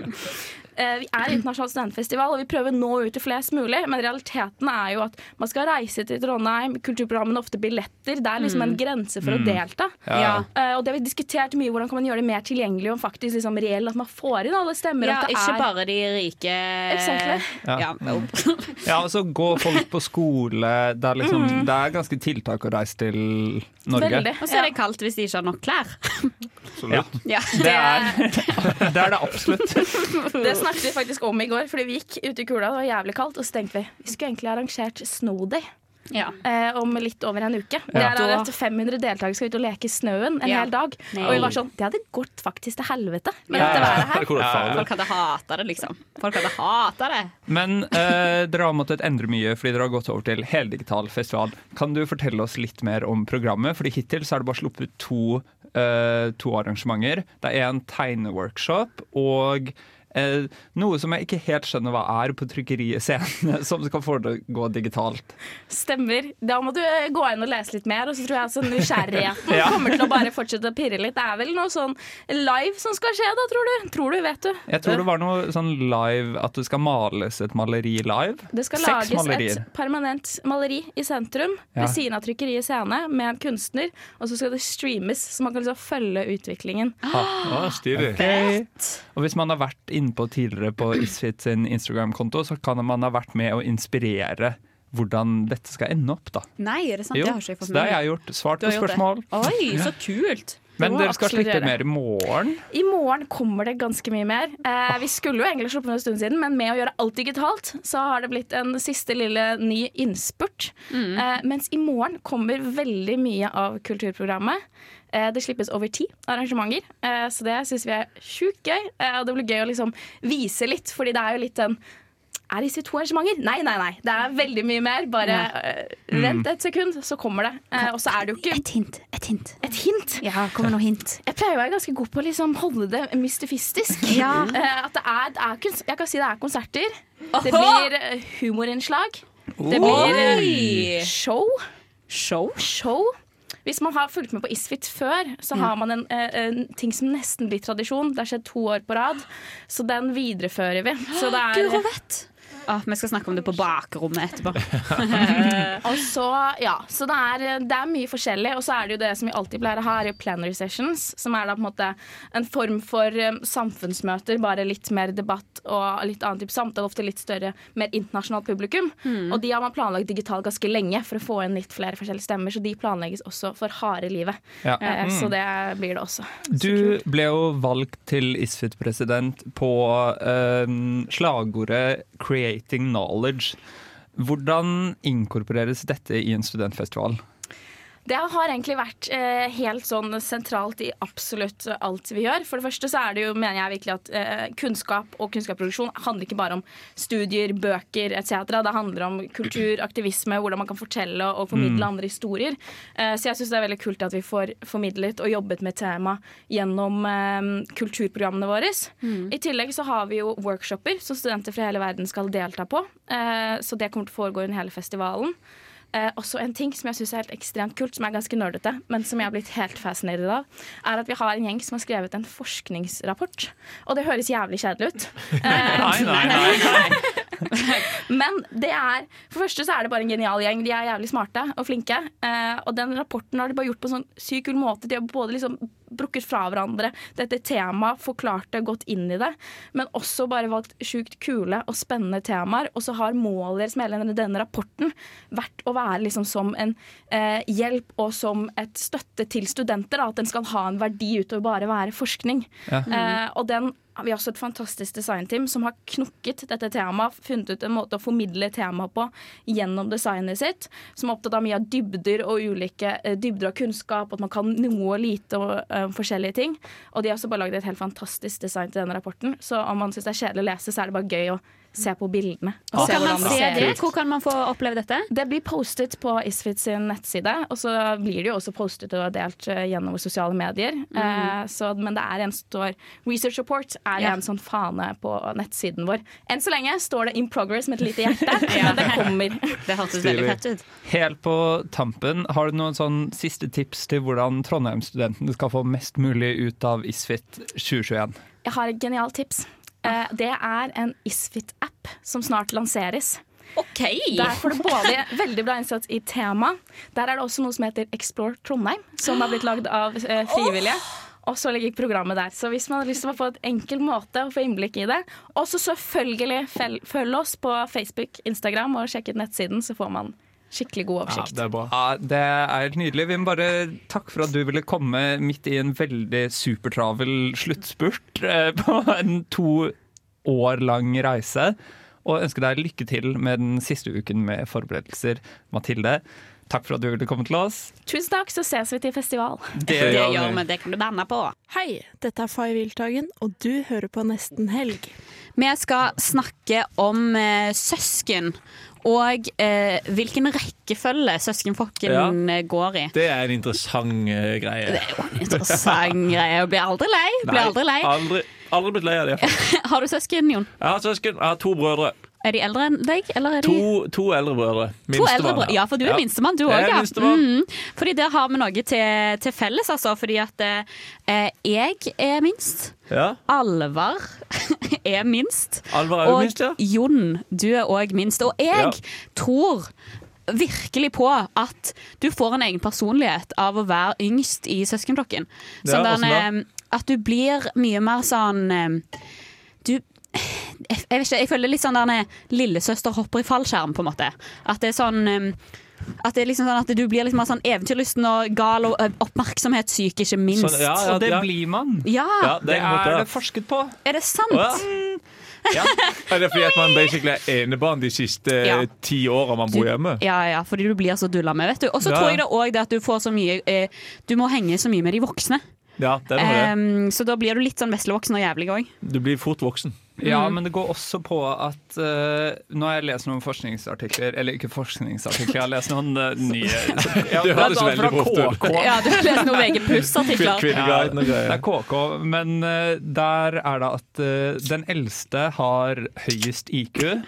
S10: eh, Vi er internasjonal studentfestival, og vi prøver å nå ut til flest mulig. Men realiteten er jo at man skal reise til Trondheim, kulturprogrammene ofte billetter. Det er liksom en grense for
S14: Mm.
S10: å delta.
S14: Ja.
S10: Eh, og det har vi diskutert mye, hvordan kan man gjøre det mer tilgjengelig og faktisk liksom reell, at man får inn alle stemmer.
S8: Ja,
S10: at det
S8: ikke
S10: er
S8: bare de rike
S10: Exactly.
S8: Ja.
S7: Mm. ja, og så gå folk på skole. Det er, liksom, det er ganske tiltak å reise til Norge.
S8: Veldig. [laughs] Og så er det kaldt hvis de ikke har nok klær.
S7: Ja.
S8: Ja.
S7: Det, er, [laughs] det er det absolutt.
S10: Det snakket vi faktisk om i går, fordi vi gikk ut i kula, det var jævlig kaldt, og så tenkte vi vi skulle egentlig arrangert Snowday. Eh, om litt over en uke. Det
S14: Ja.
S10: er
S14: Da-
S10: at 500 deltakere skal ut og leke i snøen en
S8: Ja.
S10: hel dag.
S8: Nei.
S10: Og vi var sånn Det hadde gått faktisk til helvete med
S7: Ja.
S10: dette været her.
S7: Hvor er det farlig?
S8: Folk hadde hata det, liksom. Folk hadde hata det.
S7: Men eh, dere har måttet endre mye fordi dere har gått over til heldigital festival. Kan du fortelle oss litt mer om programmet? Fordi hittil så er det bare sluppet to, eh, to arrangementer. Det er en tegneworkshop og eh, noe som jeg ikke helt skjønner hva er på trykkeriet scene, [laughs] som skal foregå digitalt.
S10: Stemmer. Da må du eh, gå inn og lese litt mer, og så tror jeg at sånn [laughs] nysgjerrigheten
S7: Ja.
S10: kommer til å bare fortsette å pirre litt. Det er vel noe sånn live som skal skje da, tror du? Tror du, vet du.
S7: Jeg tror det var noe sånn live, at det skal males et maleri live.
S10: Det skal
S7: Seks
S10: lages
S7: malerier.
S10: et permanent maleri i sentrum
S7: Ja.
S10: ved siden av trykkeriet Scene med en kunstner, og så skal det streames, så man kan liksom følge utviklingen.
S7: Ah,
S3: stilig.
S7: Ok. Og hvis man har vært innpå tidligere på Isfit sin Instagram-konto, så kan man ha vært med å inspirere hvordan dette skal ende opp, da.
S8: Nei, er det sant?
S7: Jo,
S8: det har ikke jeg fått
S7: så det har jeg gjort. Svart
S8: Du har
S7: på
S8: gjort det.
S7: spørsmål.
S8: Oi, så kult.
S7: Men
S10: må
S7: dere skal
S10: absolutt
S7: slippe
S10: gjøre.
S7: mer i morgen.
S10: I morgen kommer det ganske mye mer. Eh, vi skulle jo egentlig sluppet for en stund siden, men med å gjøre alt digitalt, så har det blitt en siste lille ny innspurt. Eh, mens i morgen kommer veldig mye av kulturprogrammet. Eh, det slippes over ti arrangementer, eh, så det syns vi er sjukt gøy. Eh, og det blir gøy å liksom vise litt, fordi det er jo litt den er disse to arrangementer? Nei, nei, nei. Det er veldig mye mer. Bare eh,
S8: Mm.
S10: vent et sekund, så kommer det. Eh, og så er det jo ikke Et hint. Et hint. Ja, kommer noe hint. Jeg pleier å være ganske god på å liksom holde det mystifistisk.
S8: [laughs] Ja.
S10: Eh, at det er, det er kons- Jeg kan si det er konserter. Det
S8: Aha!
S10: blir eh, humorinnslag. Det blir eh,
S8: Oi!
S10: show. Show? Hvis man har fulgt med på Isfit før, så har
S8: Mm.
S10: man en, eh, en ting som nesten blir tradisjon. Det har skjedd to år på rad, så den viderefører vi. Så det er
S8: Guro vet! Ah, vi skal snakke om det på bakrommet etterpå.
S10: og så, ja, så det er, det er mye forskjellig, og så er det jo det som vi alltid pleier å ha, er jo plenary sessions, som er da på en måte en form for um, samfunnsmøter, bare litt mer debatt og litt annen type samtale, ofte litt større, mer internasjonalt publikum.
S8: Mm.
S10: Og de har man planlagt digitalt ganske lenge for å få inn litt flere forskjellige stemmer, så de planlegges også for harde livet.
S7: Ja.
S10: Eh,
S7: Mm.
S10: Så det blir det også.
S7: Du ble jo valgt til ISFIT-president på eh, slagordet 'Creating Knowledge'. Hvordan inkorporeres dette i en studentfestival?
S10: Det har egentlig vært eh, helt sånn sentralt i absolutt alt vi gjør. For det første så er det jo, mener jeg virkelig at eh, kunnskap og kunnskapsproduksjon handler ikke bare om studier, bøker etc. Det handler om kultur, aktivisme, hvordan man kan fortelle og formidle
S8: Mm.
S10: andre historier. Eh, så jeg syns det er veldig kult at vi får formidlet og jobbet med tema gjennom eh, kulturprogrammene våre.
S8: Mm.
S10: I tillegg så har vi jo workshoper som studenter fra hele verden skal delta på. Eh, så det kommer til å foregå under hele festivalen. Eh, også en ting som jeg synes er helt ekstremt kult, som er ganske nerdete, men som jeg har blitt helt fascinert av, er at vi har en gjeng som har skrevet en forskningsrapport. Og det høres jævlig kjedelig ut.
S14: Nei, nei, nei.
S10: Men det er For det første så er det bare en genial gjeng. De er jævlig smarte og flinke. Eh, og den rapporten har de bare gjort på en sånn sykt kul måte. De har både liksom brukket fra hverandre dette temaet, forklart det, gått inn i det. Men også bare valgt sjukt kule og spennende temaer. Og så har målet deres med hele denne- denne rapporten vært å være liksom som en eh, hjelp og som et støtte til studenter. Da, at den skal ha en verdi utover bare å være forskning.
S8: Ja.
S10: Eh, og den, vi har også et fantastisk designteam som har knokket dette temaet, funnet ut en måte å formidle temaet på gjennom designet sitt, som er opptatt av mye av dybder og ulike eh, dybder av kunnskap, at man kan noe og lite og eh, forskjellige ting. Og de har også bare laget et helt fantastisk design til denne rapporten, så om man syns det er kjedelig å lese, så er det bare gøy å se på bildene.
S8: Hvor kan man
S10: hvordan
S8: se det?
S10: ut.
S8: Hvor kan man få oppleve dette?
S10: Det blir postet på Isfit sin nettside, og så blir det jo også postet og delt eh, gjennom sosiale medier. Eh, så, men det er en som står Research Report er
S8: Ja.
S10: en sånn fane på nettsiden vår. Enn så lenge står det In Progress med et lite hjerte, men det kommer.
S8: Det hørtes
S7: Stilig. Helt på tampen, har du noen sånn siste tips til hvordan Trondheim-studentene skal få mest mulig ut av ISFIT 2021?
S10: Jeg har et genialt tips. Eh, det er en Isfit-app som snart lanseres. Der får du både veldig bra innsats i tema. Der er det også noe som heter Explore Trondheim, som har blitt lagd av eh, frivillige. Og så ligger programmet der. Så hvis man har lyst til å få et enkel måte å få innblikk i det, og så selvfølgelig fel- følg oss på Facebook, Instagram og sjekk ut nettsiden, så får man skikkelig god oversikt.
S7: det er bra. Ja, det er helt nydelig. Vi må bare takke for at du ville komme midt i en veldig supertravel sluttspurt eh, på en to år lang reise. Og ønske deg lykke til med den siste uken med forberedelser, Mathilde. Takk for at du ville komme til oss.
S10: Tusen takk, så ses vi til festival.
S7: Det Det gjør gjør vi. vi,
S8: det kan du banne på.
S5: Hei, dette er Fay Wiltagen, og du hører på Nesten Helg.
S8: Vi skal snakke om eh, søsken. Og eh, hvilken rekkefølge søskenflokken eh, går i.
S3: Det er en interessant eh, greie.
S8: Det er jo en Interessant greie. Jeg Blir aldri lei. Blir aldri lei.
S3: Aldri, aldri blitt lei av det. Jeg
S8: Har du søsken, Jon?
S3: har søsken. Jeg har to brødre.
S8: Er de eldre enn deg? Eller er de
S3: To, to eldre brødre.
S8: To eldre brødre. Ja, for du er minstemann, du òg. Ja.
S3: Minstemann.
S8: Mhm. Fordi der har vi noe til, til felles, altså. Fordi at eh, jeg er minst.
S3: Ja.
S8: Alvar [laughs] er minst.
S3: Alvar er jo minst,
S8: [laughs]
S3: ja.
S8: Og Jon, du er òg minst. Og jeg
S3: Ja.
S8: tror virkelig på at du får en egen personlighet av å være yngst i søskenflokken.
S14: Ja,
S8: Sånn
S14: hvordan
S8: der,
S14: da?
S8: em, at du blir mye mer sånn em, Du jeg, jeg vet ikke, jeg føler litt sånn der når lillesøster hopper i fallskjerm, på en måte. At det er sånn um, at, det er liksom sånn at du blir litt mer sånn eventyrlysten og gal og ø, oppmerksomhetssyk, ikke minst.
S7: Sånn, ja, ja, Og det ja. blir man.
S8: Ja.
S7: Ja, det er en måte, ja. forsket på.
S8: Er det sant?
S3: Å, ja. Er det fordi at man basically er enebarn de siste
S8: Ja.
S3: eh, ti åra man bor hjemme?
S8: Ja, ja, fordi du blir så dulla med, vet du. Og så
S3: Ja.
S8: tror jeg det òg det at du får så mye eh, Du må henge så mye med de voksne.
S3: Ja, det må det.
S8: Em, så da blir du litt sånn veslevoksen og jævlig òg.
S3: Du blir fort voksen.
S7: Ja, men det går også på at eh, Nå har jeg lest noen forskningsartikler Eller ikke forskningsartikler, jeg har lest noen eh, nye [laughs] ja,
S3: Det høres
S7: er
S3: veldig proft ut.
S7: KK.
S8: Ja, du har lest noen VG Pluss-artikler.
S7: Ja,
S3: Kvinneguiden og greier.
S7: det er KK, men eh, der er det at eh, den eldste har høyest IQ,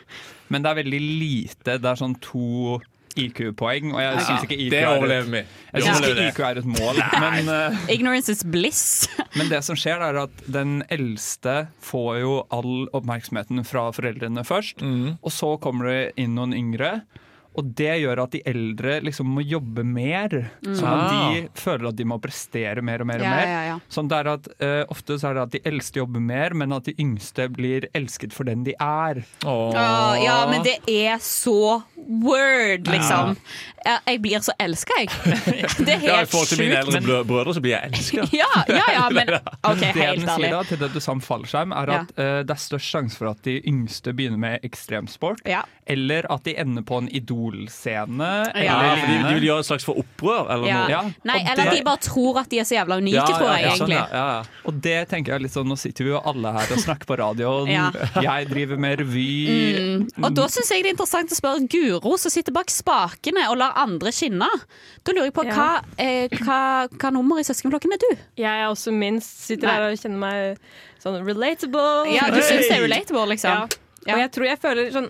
S7: men det er veldig lite. Det er sånn to IQ-poeng, og jeg
S8: Ok.
S7: syns ikke IQ
S14: Det
S7: er et-
S14: overlever vi.
S7: Jeg
S14: Det
S7: synes
S14: overlever
S7: ikke
S14: det.
S7: IQ er et mål, men eh,
S8: Ignorance is bliss.
S7: men det som skjer er at den eldste får jo all oppmerksomheten fra foreldrene først,
S8: Mm.
S7: og så kommer det inn noen yngre. Og det gjør at de eldre liksom må jobbe mer,
S8: Mm.
S7: sånn at
S8: Ah.
S7: de føler at de må prestere mer og mer. og
S8: Ja,
S7: mer.
S8: ja, ja.
S7: Sånn det er at eh, Ofte så er det at de eldste jobber mer, men at de yngste blir elsket for den de er.
S8: Åh, Ah, ja, men det er så word, liksom. Ja, Jeg blir så elska, jeg. [laughs] Det er
S3: Ja, I
S8: helt
S3: forhold til mine
S8: sjukt.
S3: eldre brø- brødre så blir jeg elska.
S8: Ja, ja, ja, men OK,
S7: det
S8: helt
S7: den sier
S8: ærlig.
S7: da, til det du sa om fallskjerm, er at eh, det er størst sjanse for at de yngste begynner med ekstremsport, eller at de ender på en Idol-scene.
S8: [laughs] Ja,
S7: eller
S3: fordi
S7: lignende.
S3: de vil gjøre et slags for opprør, eller
S8: [laughs] Ja.
S7: Ja,
S8: Nei,
S7: og
S8: eller at
S7: det-
S8: de bare tror at de er så jævla unike, tror
S7: sånn,
S8: jeg
S3: sånn,
S8: egentlig.
S7: Og det tenker jeg litt sånn, nå sitter vi jo alle her og snakker på radioen,
S8: Ja.
S7: jeg driver med revy.
S8: Mm. Og da syns jeg det er interessant å spørre Guro, som sitter bak spakene og lar andre skinne. Da lurer jeg på hva, eh, hva, hva nummer i søskenflokken er du?
S17: Jeg er også minst. Sitter
S8: Nei.
S17: her og kjenner meg sånn relatable.
S8: Ja, du synes det er relatable,
S17: Ja.
S8: liksom? Ja.
S17: Og jeg tror jeg føler sånn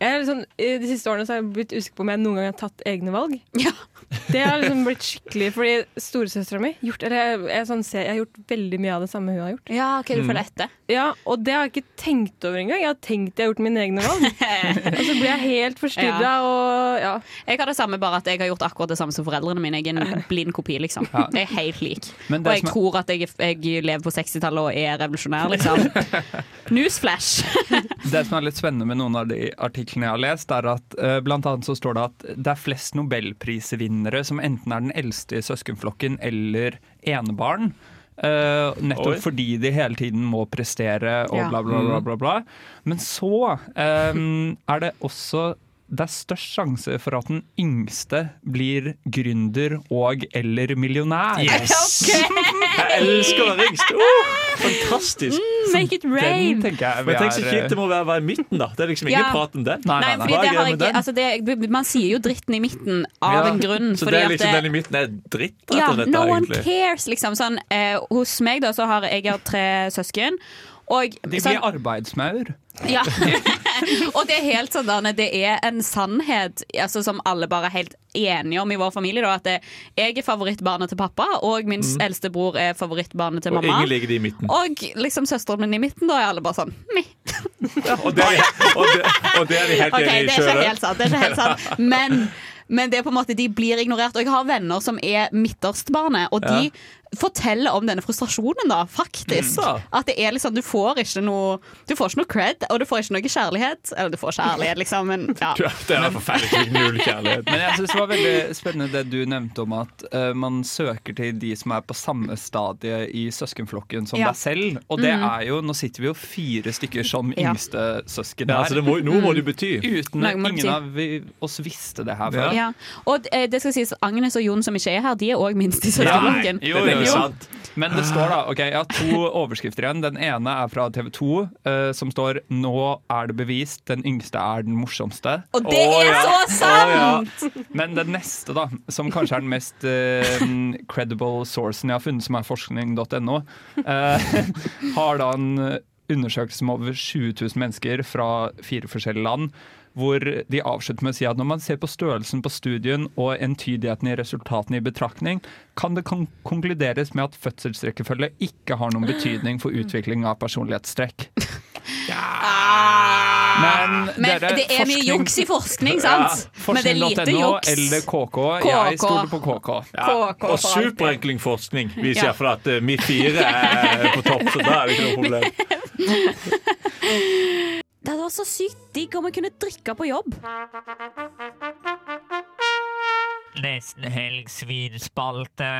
S17: jeg er litt sånn, i De siste årene så har jeg blitt usikker på om jeg noen gang har tatt egne valg. Det har liksom blitt skikkelig Fordi storesøstera mi gjort, eller jeg, jeg, sånn, ser, jeg har gjort veldig mye av det samme hun har gjort.
S8: Ja, ok, du Mm. følger etter.
S17: Ja, Og det har jeg ikke tenkt over engang. Jeg har tenkt jeg har gjort mine egne [laughs] valg. og så blir jeg helt forstyrra.
S8: Ja.
S17: Og, ja.
S8: Jeg har det samme, bare at jeg har gjort akkurat det samme som foreldrene mine. Jeg er en blind kopi, liksom.
S7: Ja.
S8: Jeg er helt lik.
S7: Men
S8: Og
S7: det
S8: jeg
S7: som er-
S8: tror at jeg, jeg lever på 60-tallet og er revolusjonær, liksom. Newsflash!
S7: Det som er litt spennende med noen av de artiklene jeg har lest, er at eh, blant annet så står det at det er flest nobelprisvinnere som enten er den eldste i søskenflokken eller enebarn. eh, nettopp
S14: Oi.
S7: fordi de hele tiden må prestere og
S14: Ja.
S7: bla, bla,
S3: Mm.
S7: bla. bla, bla. Men så eh, er det også det er størst sjanse for at den yngste blir gründer og- eller millionær.
S3: Yes! Jeg elsker å være yngst! Oh, fantastisk.
S8: Make it rain!
S7: Den tenker jeg vi
S3: Men tenk så
S7: er- eh,
S3: kjipt det må være å være i midten, da. Det er liksom ingen
S8: Ja.
S3: prat om den.
S8: Nei, fordi
S3: Hva er
S8: det
S3: greia
S8: har
S3: med
S8: ikke,
S3: den?
S8: altså det, Man sier jo dritten i midten av
S3: Ja.
S8: en grunn.
S3: Så
S8: fordi
S3: det
S8: at
S3: er liksom
S8: det-
S3: den i midten er dritt, rett og
S8: Ja,
S3: slett,
S8: no
S3: da,
S8: one
S3: egentlig.
S8: cares, liksom. Sånn, eh, hos meg da, så har jeg, jeg har tre søsken. Og,
S7: De blir
S8: sånn,
S7: arbeidsmaur.
S8: ja. [laughs] og det er helt sånn Arne, det er en sannhet altså, som alle bare er helt enige om i vår familie. Da, at det, jeg er favorittbarnet til pappa, og min
S3: Mm.
S8: eldste bror er favorittbarnet til
S3: Og
S8: mamma.
S3: ingen ligger de i midten.
S8: Og liksom søsteren min i midten, da er alle bare sånn meh.
S3: Og det er de, og det, og det er de helt
S8: Ok,
S3: enige i
S8: det er
S3: sjøl.
S8: ikke helt sant. Det er ikke
S7: [laughs]
S8: helt sant. Men, men det er på en måte, de blir ignorert. Og jeg har venner som er midterstbarnet, og de
S3: Ja.
S8: forteller om denne frustrasjonen, da, faktisk.
S3: Mm.
S8: At det er liksom, du får ikke noe Du får ikke noe cred, og du får ikke noe kjærlighet. Eller du får kjærlighet, liksom, men
S7: [laughs]
S8: ja.
S3: Det er forferdelig null kjærlighet.
S7: Men jeg synes det var veldig spennende det du nevnte om at eh, man søker til de som er på samme stadie i søskenflokken som
S3: Ja.
S7: deg selv. Og det
S3: Mhm.
S7: er jo Nå sitter vi jo fire stykker som
S3: Ja.
S7: yngste søsken
S3: Ja,
S7: her.
S3: altså det må- noe må det
S7: Mm.
S3: bety.
S7: Uten
S8: Noe
S7: at
S8: må det
S7: ingen
S8: bety.
S7: av vi, oss visste det her før.
S8: Ja. Og eh, det skal sies, Agnes og Jon som ikke er her, de er òg minst i søskenflokken.
S7: Nei, jo, jo, jo. Men det står da Ok, jeg har to overskrifter igjen. Den ene er fra TV 2, som står 'Nå er det bevist. Den yngste er den morsomste'.
S8: Og det Å, er ja. så sant!
S7: Å, ja. Men den neste, da, som kanskje er den mest eh, [laughs] credible sourcen jeg har funnet, som er forskning.no, eh, har da en eh, undersøkelse med over 20 000 mennesker fra fire forskjellige land. Hvor de avslutter med å si at når man ser på størrelsen på studien og entydigheten i resultatene i betraktning, kan det kon- konkluderes med at fødselsrekkefølge ikke har noen betydning for utvikling av personlighetstrekk. Men,
S8: Men
S7: dere,
S8: det er mye
S7: forskning-
S8: juks i forskning, sant?
S7: Ja,
S8: Men det er lite
S7: forskning.no
S8: juks.
S7: Eller KK.
S8: KK.
S7: Jeg stoler på KK.
S3: Ja.
S8: KK
S3: Og
S8: for alltid.
S3: superenkel forskning
S8: Ja.
S3: viser jeg for at eh, vi fire er på topp, så da er det ikke noe problem.
S8: Det hadde vært så sykt digg om vi kunne drikke på jobb.
S18: Nesten helg svinspalte.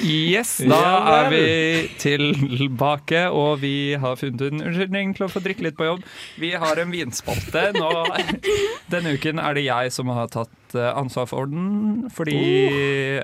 S7: Yes, da
S18: Ja
S7: er
S18: vel.
S7: vi tilbake, og vi har funnet en unnskyldning til å få drikke litt på jobb. Vi har en vinspalte.
S18: [laughs]
S7: Nå, denne uken er det jeg som
S18: Oh.
S7: har tatt eh, ansvar for den, fordi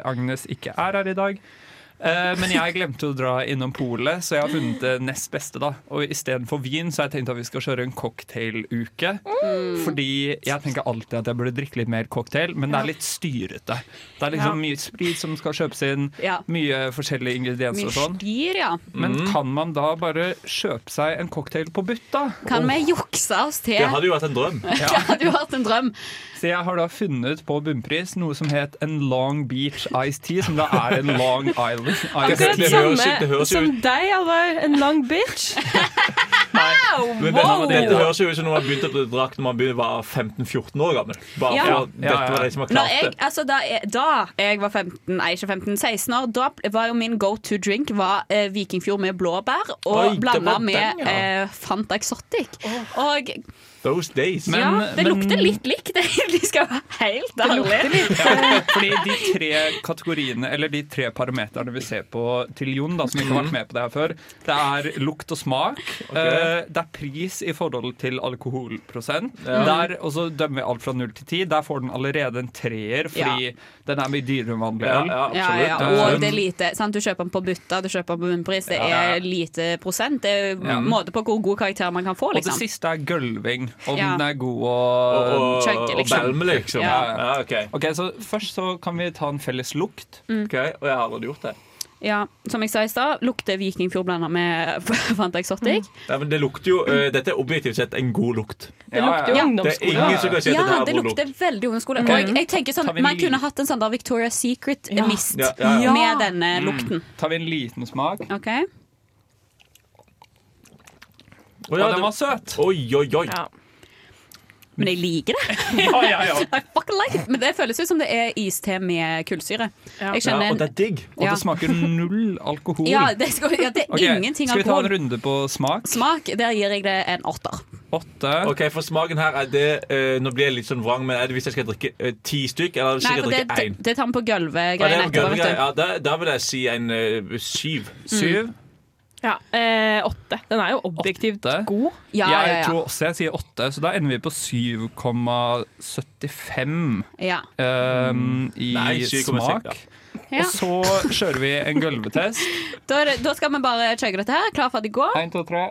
S7: Agnes ikke er her i dag. Eh, Eh, men jeg glemte å dra innom polet, så jeg har funnet det nest beste. da Og Istedenfor vin så har jeg tenkt at vi skal kjøre en cocktailuke.
S18: Mm.
S7: Fordi jeg tenker alltid at jeg burde drikke litt mer cocktail, men det er litt styrete. Det er
S8: Ja.
S7: liksom mye sprit som skal kjøpes inn,
S8: Ja.
S7: mye forskjellige ingredienser og sånn.
S8: Mystyr, ja.
S7: Men kan man da bare kjøpe seg en cocktail på butt, da?
S8: Kan vi jukse oss til [laughs]
S7: jo vært en drøm.
S8: Det hadde jo vært en drøm.
S7: Så jeg har da funnet på bunnpris noe som het en Long Beach Ice Tea, som da er en Long Island Ice
S17: [laughs] Akkurat
S7: Tea.
S17: samme som deg, Alvar. En lang bitch.
S8: Oh,
S3: Men dette, dette høres jo ut som når man begynte å drikke når man begynte, var 15-14 år gammel. Bare
S8: Ja.
S3: for at dette var de som har
S8: Når jeg,
S3: klart det.
S8: altså da, jeg, da jeg var 15, nei, ikke 15, 16 år, da var jo min go to drink var, eh, Vikingfjord med blåbær
S3: Oi,
S8: og
S3: det
S8: blanda
S3: var den,
S8: med
S3: ja.
S8: eh, Fanta Exotic. Og
S3: Those days.
S8: ja, det lukter litt likt, [laughs] de skal være helt ærlige.
S7: Ja, fordi de tre kategoriene, eller de tre parameterne vi ser på til Jon, da, som ikke
S8: Mm.
S7: har vært med på det her før, det er lukt og smak, eh, det er pris i forhold til alkoholprosent,
S3: Ja.
S7: der, og så dømmer vi alt fra 0 til 10. Der får den allerede en treer, fordi den er mye dyrere enn vanlig øl.
S8: Ja, ja, Og det er lite sant? Du kjøper den på butta, du kjøper den på bunnpris. Det
S7: Ja.
S8: er lite prosent. Det er
S7: Ja.
S8: en måte på hvor god karakter man kan få.
S7: Og det
S8: Liksom.
S7: siste er gølving. Om
S8: Ja.
S7: den er god
S3: Og-
S7: og
S3: og- Chugge, og liksom. belme, liksom. Ja.
S7: Ok, så Først så kan vi ta en felles lukt.
S8: Mm.
S3: Og jeg har aldri gjort det.
S8: Ja, som jeg sa i stad, lukter Vikingfjord blanda med [laughs] Fanta Exotic.
S3: Nei, men det lukter jo, eh, dette er objektivt sett en god lukt.
S8: Det lukter jo
S3: Det er ingen som kan si at
S8: Ja,
S3: dette er
S8: det
S3: god
S8: lukter
S3: lukt.
S8: veldig ungdomsskole.
S3: Ok.
S8: Og jeg, jeg tenker sånn,
S7: Tar vi en
S8: Man
S7: liten-
S8: kunne hatt en sånn der Victoria's Secret-mist
S7: Ja, ja, ja.
S8: med denne
S7: Mm.
S8: lukten.
S7: Tar vi en liten smak.
S8: Ok?
S3: Å ja,
S7: og
S3: det-
S7: den var søt.
S3: Oi, oi, oi.
S8: Men jeg liker det.
S3: Ja, ja, ja.
S8: I fucking like it. Men det føles ut som det er iste med kullsyre. Jeg
S7: Ja,
S8: skjønner
S7: og det er digg. [laughs] Og
S8: Ja.
S7: det smaker null alkohol.
S8: Ja, det, skal, ja, det er
S7: Ok,
S8: ingenting
S7: Skal vi ta en
S8: alkohol.
S7: runde på smak?
S8: Smak, der gir jeg det en åtter.
S3: Ok, for smaken her er det eh, Nå blir jeg litt sånn vrang, men er det hvis jeg skal drikke eh, ti stykk, eller hvis jeg
S8: Nei, for
S3: skal
S8: det,
S3: drikke
S8: det,
S3: én?
S8: det tar vi på
S3: Ja, det
S8: gulvet-greiene
S3: er
S8: etterpå.
S3: gøy,
S8: vet du.
S3: ja, da, da vil jeg si en eh, syv.
S7: Syv?
S8: Mm.
S17: Ja, eh, åtte. Den er jo objektivt god.
S7: Jeg tror også jeg sier åtte, så da ender vi på 7,75
S8: Ja.
S7: ehm,
S3: Mm.
S7: i
S3: Nei, 7,6,
S7: smak.
S3: ja.
S8: Ja.
S7: Og så kjører vi en gulvetest.
S8: Da, er det- da skal vi bare chugge dette her. Klar for at det går.
S7: Én, to, tre.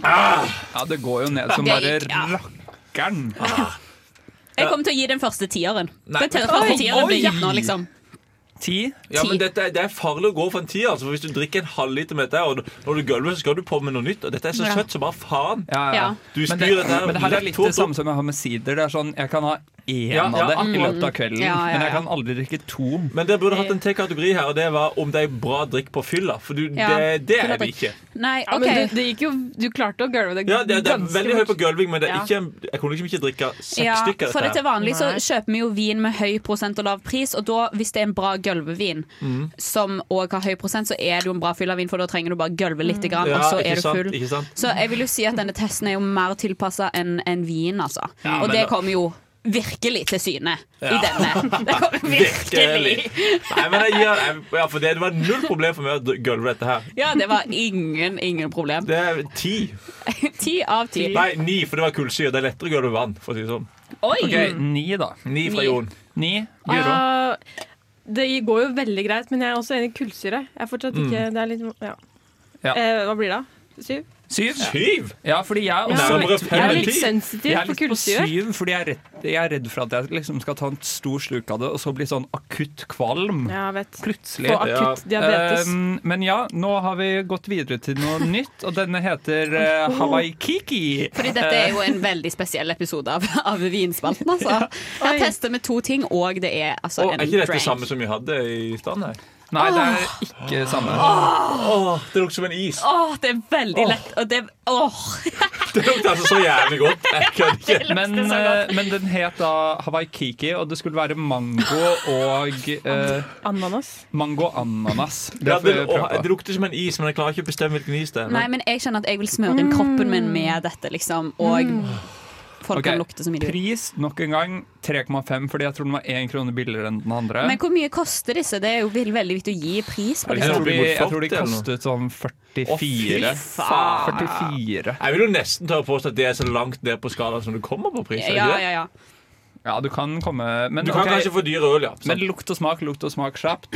S7: Ah. Ja, det går jo ned som
S8: Det
S7: bare
S8: gikk,
S7: rakkeren.
S8: Jeg kommer til å gi den første tieren.
S3: Nei,
S8: Den
S3: men-
S8: første
S3: Oi,
S8: tieren blir
S3: oi.
S8: gitt nå, liksom.
S7: Ti?
S3: Ja, men dette, er- Det er farlig å gå for en tier. Altså, for hvis du drikker en halvliter med dette, her, og du- når du gulver, så skal du på med noe nytt. Og dette er så
S7: Ja.
S3: søtt som bare faen.
S7: Ja, ja.
S3: Du
S7: men,
S3: spyr
S7: det,
S3: dette her
S7: men det her
S3: lett
S7: er litt
S3: opp.
S7: det samme som jeg har med sider. Det er sånn, Jeg kan ha én
S3: Ja, ja,
S7: av det i
S3: akkurat.
S7: løpet av kvelden,
S3: Ja, ja,
S7: men jeg
S3: ja.
S7: kan aldri drikke to.
S3: Men dere burde hatt en til kategori her, og det var om det er bra drikk på fylla. For du,
S17: Ja.
S3: det, det er det ikke.
S8: Nei,
S17: Ja, men du, det gikk jo, du klarte å gulve det
S3: Ja, det, det er
S17: ganske
S3: veldig høy på gulving, men det er
S17: Ja.
S3: ikke, en- jeg kunne liksom ikke drikke seks
S8: Ja,
S3: stykker.
S8: for det
S3: dette
S8: til
S3: her.
S8: vanlig så kjøper vi jo vin med høy prosent og lav pris, og da, hvis det er en bra gulvevin
S3: Mm.
S8: som òg har høy prosent, så er det jo en bra fyll av vin, for da trenger du bare gulve litt, grann,
S3: Mm. Ja,
S8: og så
S3: ikke
S8: er du
S3: sant,
S8: full.
S3: ikke sant.
S8: Så jeg vil jo si at denne testen er jo mer tilpassa enn enn vin, altså.
S3: Ja,
S8: og
S3: men
S8: det
S3: da-
S8: kommer jo virkelig til syne i
S3: Ja. [laughs]
S8: denne. Det kommer
S3: Virkelig.
S8: virkelig.
S3: Nei, men jeg gir, jeg, ja, for det, det var null problem for meg å dr- gulve dette her.
S8: Ja, det var ingen, ingen problem.
S3: Det er ti.
S8: Ti av ti.
S3: Nei, ni, for det var kullsyre. Det er lettere å gulve vann. For å si det sånn.
S8: Oi!
S7: Ok, Ni, da.
S3: Ni fra Jon.
S7: Ni.
S17: Ja, det går jo veldig greit, men jeg er også enig i kullsyre. Jeg er fortsatt
S7: Mm.
S17: ikke Det er litt ja.
S7: Ja.
S17: Eh, Hva blir det? da? Syv?
S7: Syv?
S3: Syv?
S7: Ja, fordi jeg, er
S17: Ja.
S7: også
S17: Det er
S7: litt-
S17: bare fem eller
S7: litt-
S17: ti. sensitiv
S7: Jeg er
S17: for
S7: litt på
S17: kullsyre.
S7: syv, fordi jeg er, redd, jeg er redd for at jeg liksom skal ta en stor sluk av det, og så bli sånn akutt kvalm.
S17: Ja, jeg vet.
S7: Plutselig.
S17: Få akutt diabetes.
S7: Um, men ja, nå har vi gått videre til noe [laughs] nytt, og denne heter uh, Hawaii Kiki.
S8: Fordi dette er jo en veldig spesiell episode av, av Vinspalten, altså. Her tester vi to ting, og det er altså
S3: Og
S8: en
S3: er ikke dette
S8: drink.
S3: samme som vi hadde i stand her?
S7: Sånn Nei, det er ikke samme.
S3: Åh, det lukter som en is.
S8: Åh, det er veldig
S3: Åh.
S8: lett. Og det, åh.
S3: Det lukter altså så jævlig godt. Jeg kødder ikke.
S7: Men, eh, men den het da Hawaii Kiki, og det skulle være mango
S3: [laughs]
S7: og eh,
S17: Ananas.
S7: Mango og ananas.
S3: Ja,
S7: får vi
S3: det,
S7: prøve
S3: åh,
S7: på.
S3: det lukter som en is, men jeg klarer ikke å bestemme hvilken is det er.
S8: Nei, men jeg kjenner at jeg vil smøre inn kroppen min med dette, liksom. Og folk
S7: Ok,
S8: kan lukte som idioter.
S7: Pris nok en gang 3,5, fordi jeg tror den var 1 krone billigere enn den andre.
S8: Men hvor mye koster disse? Det er jo vel- veldig viktig å gi pris på
S7: jeg, tror
S8: disse.
S7: de, jeg tror de
S3: eller noe.
S7: kostet sånn 44.
S3: Å, fy faen.
S7: 44.
S3: Jeg vil jo nesten tørre å påstå at det er så langt ned på skalaen som du kommer på pris. er det
S8: Ja,
S3: ikke det?
S8: ja, ja.
S7: Ja, du kan komme men,
S3: Du kan
S7: ok.
S3: kanskje få dyr øl, ja.
S8: Sånn.
S7: Men lukt og smak, lukt og smak
S8: [clears throat]
S7: kjapt.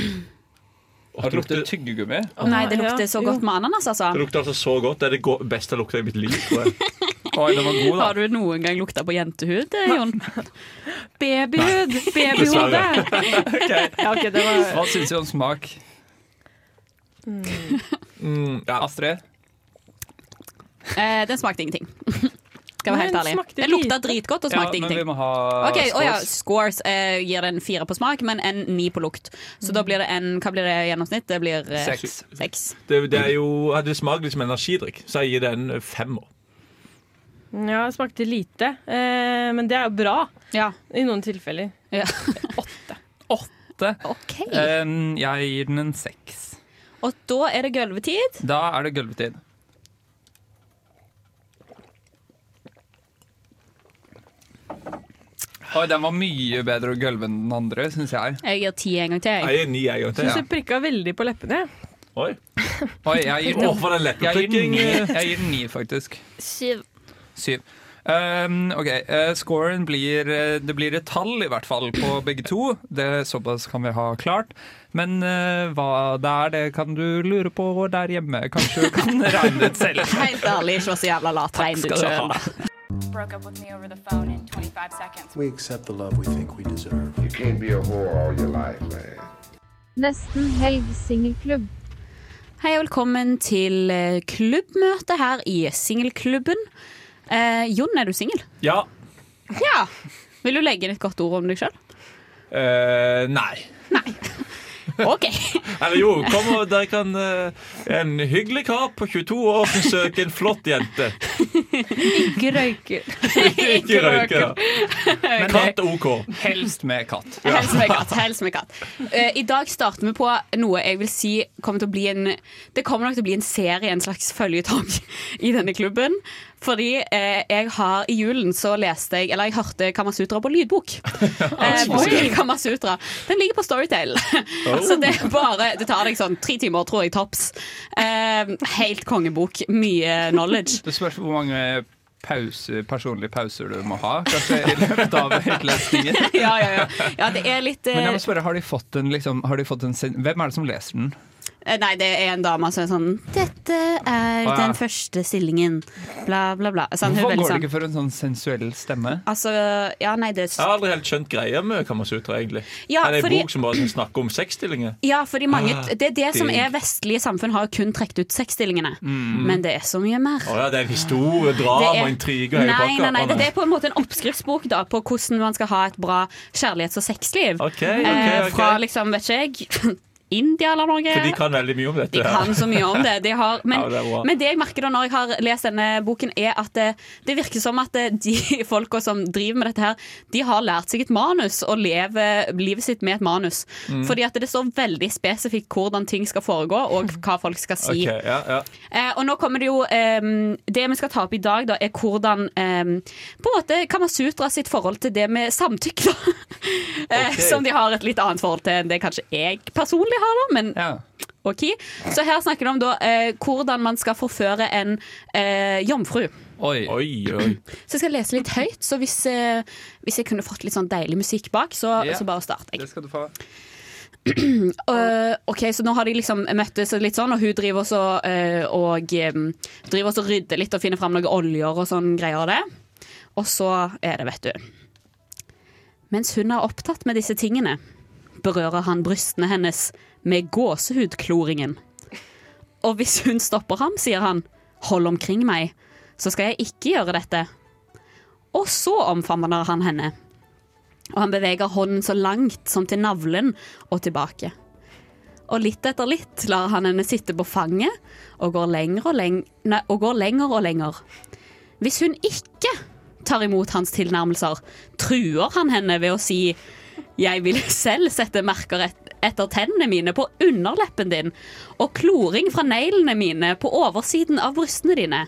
S7: Og det lukter tyggegummi.
S8: Nei, det lukter så godt med ananas, altså.
S3: Det lukter altså så godt. Det er det go- beste jeg lukter i mitt liv.
S7: [laughs]
S3: tror jeg.
S7: Oi, den var god, da.
S8: Har du noen gang lukta på jentehud, eh, Jon?
S17: Babyhud!
S7: [laughs]
S17: Babyhode! [laughs] ja, ok, det var
S7: Hva syns du om smak?
S3: Mm,
S7: Astrid?
S8: Eh, den smakte ingenting. [laughs] Skal være
S17: Men
S8: helt
S17: den
S8: ærlig.
S17: smakte
S8: Den lukta dritgodt og smakte
S7: ja, men
S8: ingenting.
S7: vi må ha
S8: Ok,
S7: scores.
S8: å ja, Scores eh, gir den fire på smak, men en ni på lukt. Så da blir det en Hva blir det i gjennomsnitt? Det blir eh,
S3: Seks.
S8: seks.
S3: Det, det er jo, hadde det smakt litt som energidrikk, så jeg gir eh, det en femmer.
S17: Ja, det smakte lite. Eh, men det er jo bra. I noen tilfeller.
S7: Åtte.
S8: Ok.
S7: Em, jeg gir den en seks.
S8: Og da er det gulvetid.
S7: Da er det gulvetid. Oi, den var mye bedre å gulve enn den andre, syns jeg.
S8: Jeg gir ti en gang til.
S7: Jeg gir ni en gang til,
S17: Syns
S7: ja.
S17: jeg prikka veldig på leppene.
S3: Oi.
S7: Oi, jeg gir,
S3: Å, for en lett
S7: jeg gir den ni,
S3: opptrykking.
S7: jeg gir den ni, faktisk.
S10: Syv.
S7: Syv. Ehm, ok, eh, scoren blir eh, Det blir et tall, i hvert fall, på begge to. Det Såpass kan vi ha klart. Men eh, hva det er, det kan du lure på der hjemme. Kanskje du kan [laughs] regne det ut selv.
S8: [laughs] Helt ærlig, ikke vær så jævla lat. Regn
S7: skal
S8: det
S7: du
S8: sjøl,
S7: ha.
S8: da.
S14: Broke up with me over the phone in 25 seconds.
S19: We accept the love we think we deserve. You can't be a whore all your life, man.
S8: Nesten helg singelklubb. Hei og velkommen til eh, klubbmøte her i singelklubben. Eh, Jon, er du singel?
S3: Ja.
S8: Ja. Vil du legge inn et godt ord om deg sjøl?
S3: Eh, nei.
S8: OK.
S3: Eller jo, kom og dere kan eh, En hyggelig kar på 22 år som søker en flott
S8: [laughs]
S3: jente.
S17: Ikke røyker.
S3: Ikke røyke. Men katt er OK.
S7: Helst med katt.
S8: Helst med katt. helst med katt. Eh, I dag starter vi på noe jeg vil si kommer til å bli en Det kommer nok til å bli en serie, en slags føljetong, i denne klubben. Fordi eh, jeg har i julen så leste jeg Eller jeg hørte Kamasutra på lydbok. Eh, Boy Kamasutra. Den ligger på Storytale.
S6: Oh.
S8: Så det er bare Det tar deg sånn tre timer, tror jeg, tops. Eh, helt kongebok. Mye
S7: [laughs]
S8: knowledge.
S7: Det spørs hvor mange pauser, personlige pauser du må ha kanskje i løpet av utlesningen.
S8: Ja, ja, ja. ja det er litt
S7: Men
S8: eh,
S7: jeg må spørre, har de fått en, liksom, har de fått en sen- Hvem er det som leser den?
S8: Eh, Nei, det er en dame som er sånn Dette er
S7: Å, ja.
S8: den første stillingen Bla, bla, bla Så hun er
S7: Hvorfor
S8: veldig
S7: går det
S8: sånn,
S7: ikke for en sånn sensuell stemme?
S8: Altså, ja, nei, det
S3: Jeg har aldri helt skjønt greia med Kamasutra, egentlig.
S8: Ja,
S3: er det en
S8: fordi-
S3: bok som bare snakker om sexstillinger?
S8: ja, fordi mange,
S3: Ah,
S8: det er det som
S3: digg.
S8: er vestlige samfunn Har kun trekt ut sexstillingene
S3: Mm.
S8: Men det er så mye mer
S3: Å ja, det er en historie, drama,
S8: Det er-
S3: intriger hele
S8: nei,
S3: pakka.
S8: Nei, nei,
S3: Å,
S8: det, det er på en måte en oppskriftsbok da, på hvordan man skal ha et bra kjærlighets- og sexliv.
S3: ok, ok.
S8: Fra liksom, vet ikke jeg, [laughs] India eller noe.
S3: For de kan veldig mye om dette.
S8: De kan så mye om det. De
S3: [laughs]
S8: har, men,
S3: Ja, det er bra.
S8: men det jeg merker da når jeg har lest denne boken, er at det, det virker som at eh, de [laughs] folka som driver med dette her, de har lært seg et manus og lever livet sitt med et manus.
S3: Mm.
S8: Fordi at det står veldig spesifikt hvordan ting skal foregå, og hva folk skal si.
S3: Ok, ja, ja.
S8: Eh, og nå kommer det jo ehm, Det vi skal ta opp i dag, da, er hvordan ehm, På en måte Kamasutra sitt forhold til det med samtykke, da. [laughs] Eh,
S6: Ok.
S8: Som de har et litt annet forhold til enn det kanskje jeg personlig har, da. Men OK. Så her snakker de om da eh, hvordan man skal forføre en eh, jomfru.
S7: Oi.
S3: Oi, oi.
S8: Så jeg skal lese litt høyt, så hvis, eh, hvis jeg kunne fått litt sånn deilig musikk bak, så,
S7: Ja.
S8: så bare starter jeg.
S7: Det skal du få.
S8: Øh, ok, så nå har de liksom møttes og litt sånn, og hun driver også øh, og um, driver også og rydder litt og finner fram noen oljer og sånn greier og det. Og så er det, vet du Mens hun er opptatt med disse tingene, berører han brystene hennes med gåsehudkloringen. Og hvis hun stopper ham, sier han, hold omkring meg, så skal jeg ikke gjøre dette. Og så omfavner han henne og han beveger hånden så langt som til navlen og tilbake. Og litt etter litt lar han henne sitte på fanget og går lenger og, leng nei, og, går lenger, og lenger. Hvis hun ikke tar imot hans tilnærmelser, truer han henne ved å si jeg vil selv sette merker et etter tennene mine på underleppen din og kloring fra neglene mine på oversiden av brystene dine.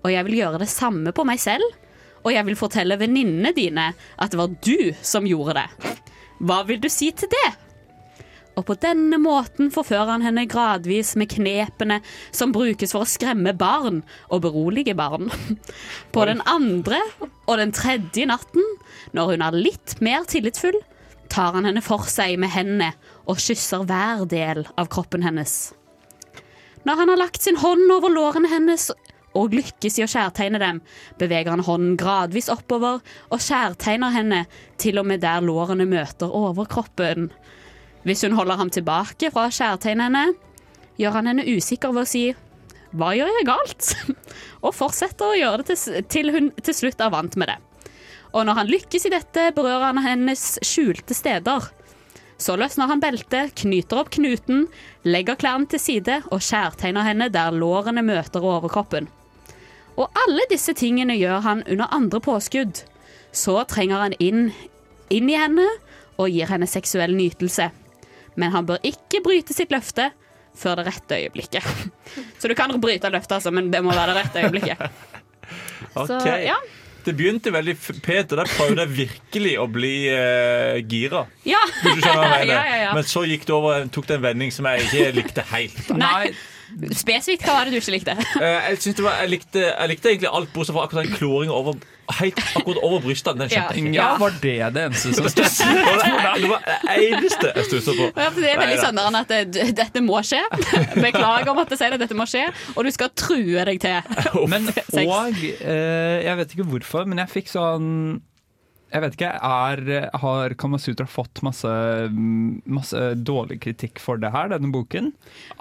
S8: Og jeg vil gjøre det samme på meg selv, og jeg vil fortelle venninnene dine at det var du som gjorde det. Hva vil du si til det? og på denne måten forfører han henne gradvis med knepene som brukes for å skremme barn og berolige barn. [laughs] På den andre og den tredje natten, når hun er litt mer tillitsfull, tar han henne for seg med hendene og kysser hver del av kroppen hennes. Når han har lagt sin hånd over lårene hennes og lykkes i å skjærtegne dem, beveger han hånden gradvis oppover og skjærtegner henne til og med der lårene møter overkroppen. Hvis hun holder ham tilbake fra å skjærtegne henne, gjør han henne usikker ved å si hva gjør jeg galt? [laughs] og fortsetter å gjøre det til, til hun til slutt er vant med det. Og når han lykkes i dette, berører han hennes skjulte steder. Så løsner han beltet, knyter opp knuten, legger klærne til side og skjærtegner henne der lårene møter overkroppen. Og alle disse tingene gjør han under andre påskudd. Så trenger han inn, inn i henne og gir henne seksuell nytelse. Men han bør ikke bryte sitt løfte før det rette øyeblikket. [laughs] Så du kan bryte løftet, altså, men det må være det rette øyeblikket.
S3: Ok.
S8: Så, ja.
S3: Det begynte veldig f- pent, og der prøvde jeg virkelig å bli eh, gira.
S8: Ja.
S3: Hvis du skjønner hva
S8: [laughs]
S3: jeg mener.
S8: Ja, ja, ja.
S3: Men så gikk det over, tok det en vending som jeg ikke likte helt.
S8: Nei. Spesifikt, hva var det du ikke likte? [laughs]
S3: Eh, jeg, synes det var, jeg, likte, jeg likte egentlig alt bortsett fra akkurat den kloringen over, helt akkurat over brystene. Den skjønte jeg ikke. [laughs]
S7: Ja, var det det eneste som stusset?
S3: Det var det- det var det eneste jeg stusset på.
S8: Ja, for Det er veldig
S3: Neida.
S8: sånn at eh, d- dette må skje. [laughs] Beklager om at jeg sier det, dette må skje. Og du skal true
S3: [laughs]
S8: deg til.
S7: [laughs] Men
S8: Sex.
S7: og eh, Jeg vet ikke hvorfor, men jeg fikk sånn jeg vet ikke, er, Har Kamasutra fått masse, masse dårlig kritikk for det her, denne boken?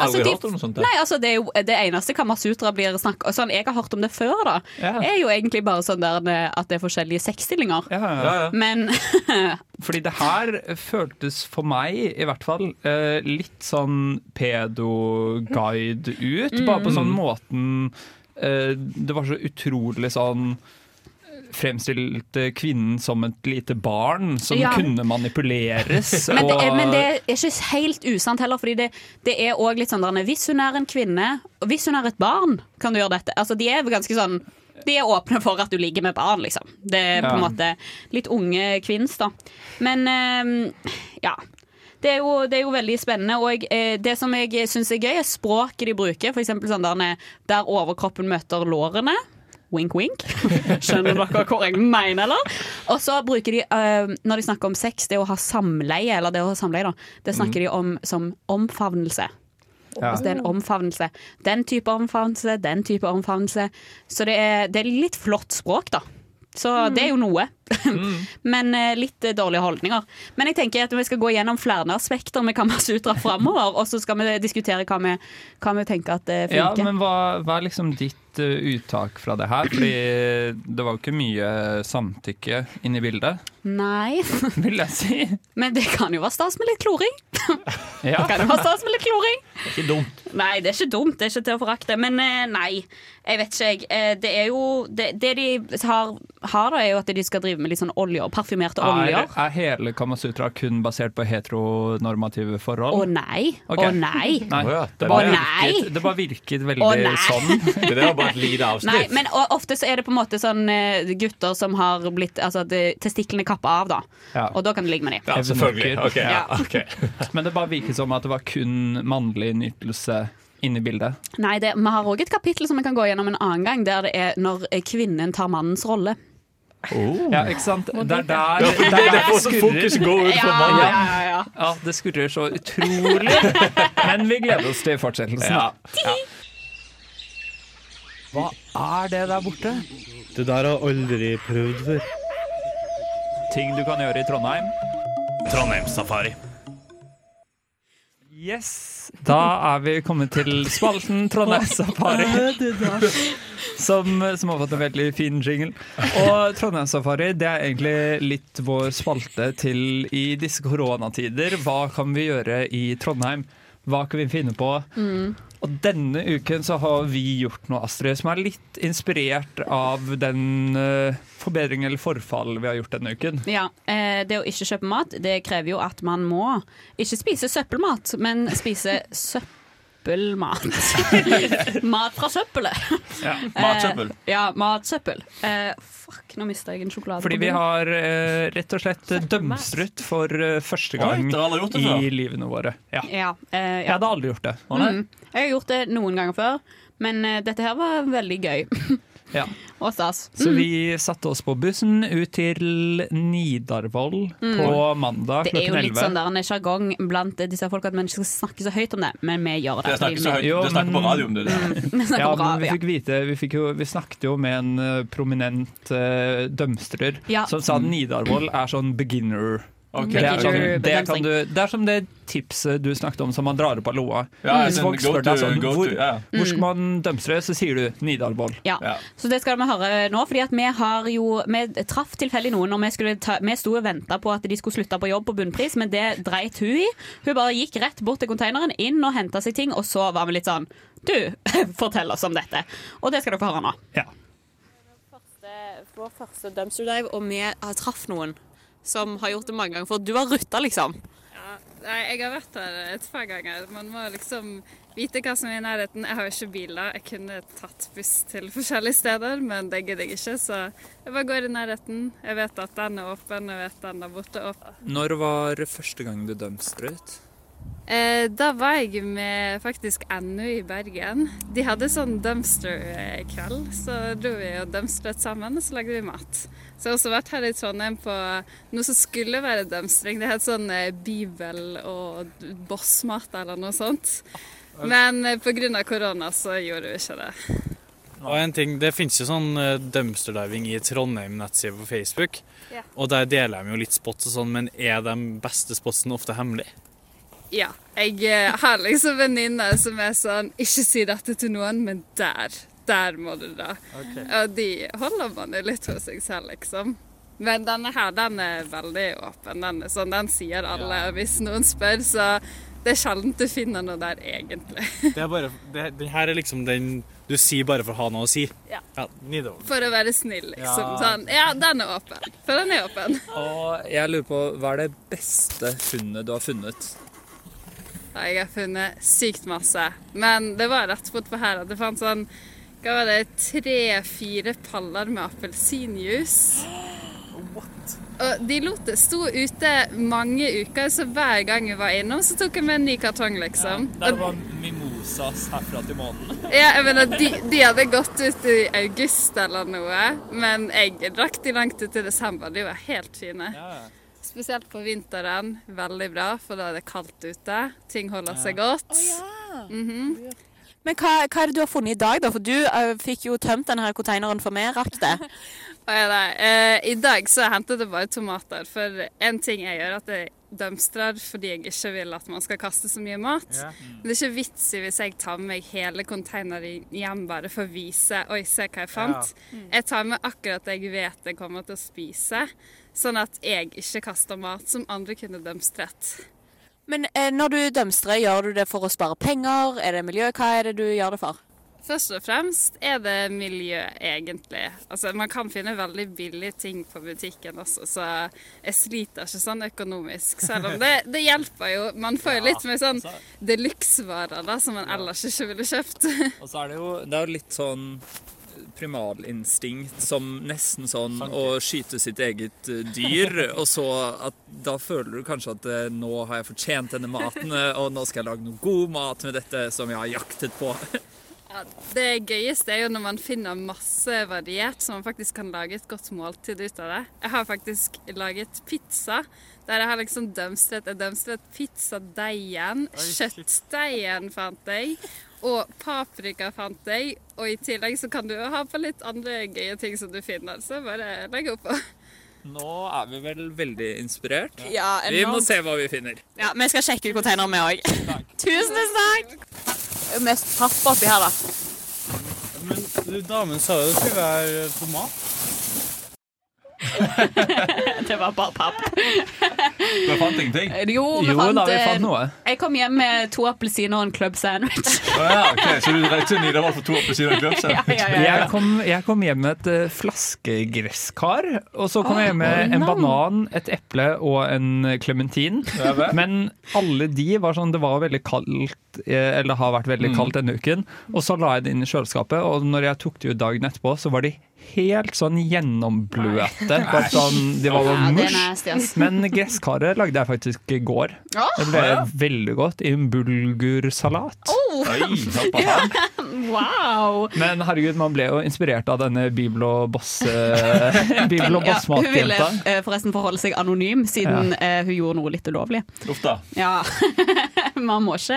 S8: Altså, de- Nei, altså det, er jo, det eneste Kamasutra blir snakk og Sånn jeg har hørt om det før, da,
S7: Ja.
S8: er jo egentlig bare sånn der eh, at det er forskjellige sexstillinger.
S7: Ja,
S3: [laughs]
S7: ja.
S8: Men [laughs]
S7: Fordi det her føltes for meg, i hvert fall, eh, litt sånn pedoguide ut.
S8: Mm.
S7: Bare på sånn måten eh, Det var så utrolig sånn Fremstilte kvinnen som et lite barn som
S8: Ja.
S7: kunne manipuleres.
S8: [laughs] men, det er,
S7: og-
S8: men det er ikke helt usant heller, Fordi det, det er òg litt sånn der, Hvis hun er en kvinne, og hvis hun er et barn, kan du gjøre dette. Altså, de er ganske sånn de er åpne for at du ligger med barn, liksom. Det er på en
S11: Ja.
S8: måte litt unge kvinns, da. Men ehm, ja. Det er, jo, det er jo veldig spennende. Og eh, det som jeg syns er gøy, er språket de bruker. For eksempel sånn der, der overkroppen møter lårene. Wink, wink. Skjønner dere hvor jeg mener, eller? Og så bruker de, eh, når de snakker om sex, det å ha samleie, eller det å ha samleie, da,
S7: Mhm.
S8: det snakker de om som omfavnelse.
S11: Ja.
S8: Altså det er en omfavnelse. Den type omfavnelse, den type omfavnelse. Så det er, det er litt flott språk, da. Så
S7: Mhm.
S8: det er jo noe. [laughs] Men eh, litt eh, dårlige holdninger. Men jeg tenker at vi skal gå gjennom flere aspekter med Kamasutra framover, og så skal vi diskutere hva vi, hva vi tenker at eh,
S7: Ja,
S8: funker.
S7: men hva, hva er liksom ditt eh, uttak fra det her? Fordi det var jo ikke mye samtykke inne i bildet, [laughs]
S8: Nei. [laughs]
S7: vil jeg si.
S8: Men det kan jo være stas med litt kloring.
S7: Ja.
S8: Det kan jo være stas med litt kloring.
S7: Ikke dumt.
S8: Nei, det er ikke dumt. Det er ikke til å forakte. Men eh, nei, jeg vet ikke, jeg. Eh, Det er jo Det, det de har, har, da, er jo at de skal drive med litt sånn oljer. Parfymerte
S7: Ah, Er,
S8: oljer.
S7: er hele Kamasutra kun basert på heteronormative
S8: Å
S7: forhold?
S8: nei. Å
S7: Ok.
S8: nei.
S3: Å ja,
S7: Det
S3: det
S7: bare
S8: var- Å nei.
S7: virket, det bare virket veldig
S8: Å nei. [laughs]
S7: sånn.
S3: Det der var bare et lite
S8: Nei, men o- ofte så er det på en måte sånn eh, gutter som har blitt Altså at eh, testiklene kappa av, da.
S7: Ja.
S8: Og da kan du ligge med dem.
S3: Ja, selvfølgelig.
S7: Evneker.
S3: Ok, ja,
S7: Men det bare virket som at det var kun mannlig nytelse inne i bildet.
S8: Nei, det, vi har òg et kapittel som vi kan gå gjennom en annen gang, der det er når eh, kvinnen tar mannens rolle. Oh.
S7: Ja, ikke sant? Det er der,
S3: Ja, for det er derfor også fokus går ut fra mannen. Ja,
S8: ja, ja.
S7: ja, det skurrer så utrolig. [laughs] Men vi gleder oss til fortsettelsen. Hva er det der borte?
S20: Det der har jeg aldri prøvd før.
S7: Ting du kan gjøre i Trondheim.
S20: Trondheimssafari.
S7: Yes! Da er vi kommet til spalten Trondheimssafari. Som, som har fått en veldig fin jingle. Og Trondheimssafari det er egentlig litt vår spalte til i disse koronatider. Hva kan vi gjøre i Trondheim? Hva kan vi finne på?
S11: Mm.
S7: Og denne uken så har vi gjort noe, Astrid, som er litt inspirert av den eh, forbedringen eller forfallet vi har gjort denne uken.
S8: Ja, eh, Det å ikke kjøpe mat Det krever jo at man må ikke spise søppelmat, men spise søppel...
S7: [laughs]
S8: søppelmat. mat fra søppelet.
S7: Ja, matsøppel.
S8: Eh, ja, matsøppel. Eh, fuck, nå mista jeg en sjokolade.
S7: Fordi
S8: på
S7: vi
S8: bunnen.
S7: har eh, rett og slett dømstrutt for eh, første
S3: Oi,
S7: gang
S3: dere har aldri gjort det altså.
S7: i
S3: før?
S7: livene våre. Ja.
S8: Ja, eh,
S7: Jeg hadde aldri gjort det.
S8: Mm. Jeg har gjort det noen ganger før, men eh, dette her var veldig gøy.
S7: Ja.
S8: [laughs] Og stas.
S7: Så
S8: Mm.
S7: vi satte oss på bussen ut til Nidarvoll
S8: Mm.
S7: på mandag
S8: Det er jo
S7: klokken
S8: litt
S7: 11.
S8: sånn der en sjargong blant disse folk at man ikke skal snakke så høyt om det, men vi gjør det.
S3: Dere snakker så høyt.
S7: Jo,
S3: Dere snakker på
S7: men-
S3: radio om det. Der.
S8: [laughs] Vi snakker
S7: Ja,
S8: om
S7: men
S8: radio,
S7: vi
S8: ja.
S7: fikk vite Vi, fikk jo, vi snakket jo med en eh, prominent eh, dømstrer
S8: Ja.
S7: som sa at Nidarvoll er sånn beginner.
S3: Ok.
S7: Det, er sånn,
S3: Beginner
S7: det, kan du, det er som det tipset du snakket om som man drar opp av loa.
S3: Ja,
S7: Hvis
S3: sånn
S7: folk
S3: go
S7: spør
S3: to-
S7: deg sånn,
S3: go to,
S7: hvor,
S3: ja. Mm.
S7: hvor skal man dømstre, så sier du Nidarvoll.
S8: Ja. Så det skal vi høre nå, fordi at vi har jo Vi traff tilfeldig noen når vi skulle ta Vi sto og venta på at de skulle slutte på jobb på Bunnpris, men det dreit hun i. Hun bare gikk rett bort til konteineren, inn og henta seg ting, og så var vi litt sånn Du, [laughs] fortell oss om dette. Og det skal dere få høre nå. Vår første dumpster dive, og vi traff noen som har gjort det mange ganger. For du har rutta, liksom.
S11: Ja, nei, jeg har vært her et par ganger. Man må liksom vite hva som er i nærheten. Jeg har jo ikke bil, da. Jeg kunne tatt buss til forskjellige steder, men det gidder jeg ikke. Så jeg bare går i nærheten. Jeg vet at den er åpen, jeg vet den der borte er åpen.
S7: Når var første gang du dømstrøt?
S11: Eh, da var jeg med faktisk NU i Bergen. De hadde sånn dumpster-kveld, så dro vi og dumpstret sammen, og så lagde vi mat. Så jeg har også vært her i Trondheim på noe som skulle være dumpstring. Det het sånn eh, bibel- og bossmat eller noe sånt. Men eh, pga. korona så gjorde vi ikke det.
S21: Og en ting, Det finnes jo sånn eh, dumpsterdiving i Trondheim nettside på Facebook.
S11: Ja.
S21: Og der deler de jo litt spots og sånn, men er de beste spotsene ofte hemmelig?
S11: Ja. Jeg eh, har liksom venninner som er sånn Ikke si dette til noen, men der. Der må du dra.
S21: Ok.
S11: Og de holder man jo litt for seg selv, liksom. Men denne her, den er veldig åpen. Den, er sånn, den sier alle
S21: Ja.
S11: hvis noen spør, så det er sjelden du finner noe der, egentlig.
S21: Det er bare, det, den her er liksom den du sier bare for å ha noe å si.
S11: Ja.
S21: Nidover.
S11: For å være snill, liksom.
S21: Ja.
S11: Sånn. Ja, den er åpen. For den er åpen.
S7: Og jeg lurer på, hva er det beste funnet du har funnet?
S11: Ja, jeg har funnet sykt masse. Men det var rett bortpå her at det fant sånn hva var det, tre-fire paller med appelsinjuice. Og de lot det stå ute mange uker, så hver gang jeg var innom, så tok jeg med en ny kartong, liksom. Og-
S7: var mimosas herfra til månen.
S11: Ja, jeg mener, de, de hadde gått ut i august eller noe, men jeg drakk de langt ut i desember. De var helt fine. Spesielt på vinteren. Veldig bra, for da er det kaldt ute. Ting holder seg godt. Mhm.
S2: Men hva, hva er det du har funnet i dag, da? For du eh, fikk jo tømt denne konteineren for meg, rakk det.
S11: Å, ja, nei. Eh, I dag så hentet jeg bare tomater, for en ting jeg gjør, er at jeg dømstrer fordi jeg ikke vil at man skal kaste så mye mat.
S22: Ja.
S11: Men Det er ikke vits i hvis jeg tar med meg hele konteineren hjem bare for å vise Oi, se hva jeg fant.
S22: Ja.
S11: Jeg tar med akkurat det jeg vet jeg kommer til å spise, sånn at jeg ikke kaster mat som andre kunne dømstret.
S2: Men eh, når du dømstrer, gjør du det for å spare penger? Er det miljø? Hva er det du gjør det for?
S11: Først og fremst er det miljø, egentlig. Altså, man kan finne veldig billige ting på butikken også, så jeg sliter ikke sånn økonomisk. Selv om det, det hjelper jo. Man får jo litt med sånn deluxe-varer da, som man ellers ikke ville kjøpt.
S7: Og så er det jo, det er jo litt sånn primalinstinkt som nesten sånn å skyte sitt eget eh, [laughs] dyr, og så at da føler du kanskje at eh, nå har jeg fortjent denne maten, eh, og nå skal jeg lage noe god mat med dette som jeg har jaktet på.
S11: Ja, det gøyeste er jo når man finner masse variert, så man faktisk kan lage et godt måltid ut av det. Jeg har faktisk laget pizza, der jeg har liksom dømstret, jeg dømstret pizzadeigen, kjøttdeigen fant jeg, og paprika fant jeg, og i tillegg så kan du jo ha på litt andre gøye ting som du finner, så bare legg opp på.
S7: Nå er vi vel veldig inspirert.
S2: Ja,
S7: vi må
S2: enormt.
S7: se hva vi finner.
S2: Ja, Vi skal sjekke ut konteineren, vi òg.
S8: [laughs]
S2: Tusen takk! Det er jo mest pappa oppi her, da.
S21: Men du, damen sa jo det skulle være tomat.
S8: det var bare papp.
S3: Du fant ingenting?
S8: Jo, vi fant, eh, Jeg kom hjem med to appelsiner og en club sandwich.
S3: Å
S8: [laughs]
S3: ja, ok, Så du reiste til Nidarvoll for to appelsiner og kløpse?
S8: Ja, ja,
S7: Jeg kom, jeg kom hjem med et eh, flaskegresskar, og så kom jeg hjem med en banan, et eple og en eh, klementin.
S3: Ja, vel.
S7: Men alle de var sånn Det var veldig kaldt kaldt, eh, eller det har vært veldig
S3: Mm.
S7: kaldt denne uken. Og så la jeg det inn i kjøleskapet, og når jeg tok det ut dagen etterpå, så var de helt sånn gjennombløte.
S8: Nei.
S7: Bare sånn, de var
S8: Ja,
S7: sånn
S8: det er
S7: mush.
S8: nasty, altså. ass.
S7: [laughs] Men gresskaret lagde jeg faktisk i går.
S8: Åh!
S7: Det ble
S8: Ja.
S7: veldig godt i en bulgursalat.
S8: Oh!
S7: ja.
S8: wow!
S7: Men herregud, man ble jo inspirert av denne Bibel og Boss-matjenta. Bibel og
S8: [laughs] Ja, hun ville
S7: Boss-matjenta.
S8: eh, forresten forholde seg anonym, siden eh, hun gjorde noe litt ulovlig.
S3: Uff da.
S8: Ja, [laughs] Man må ikke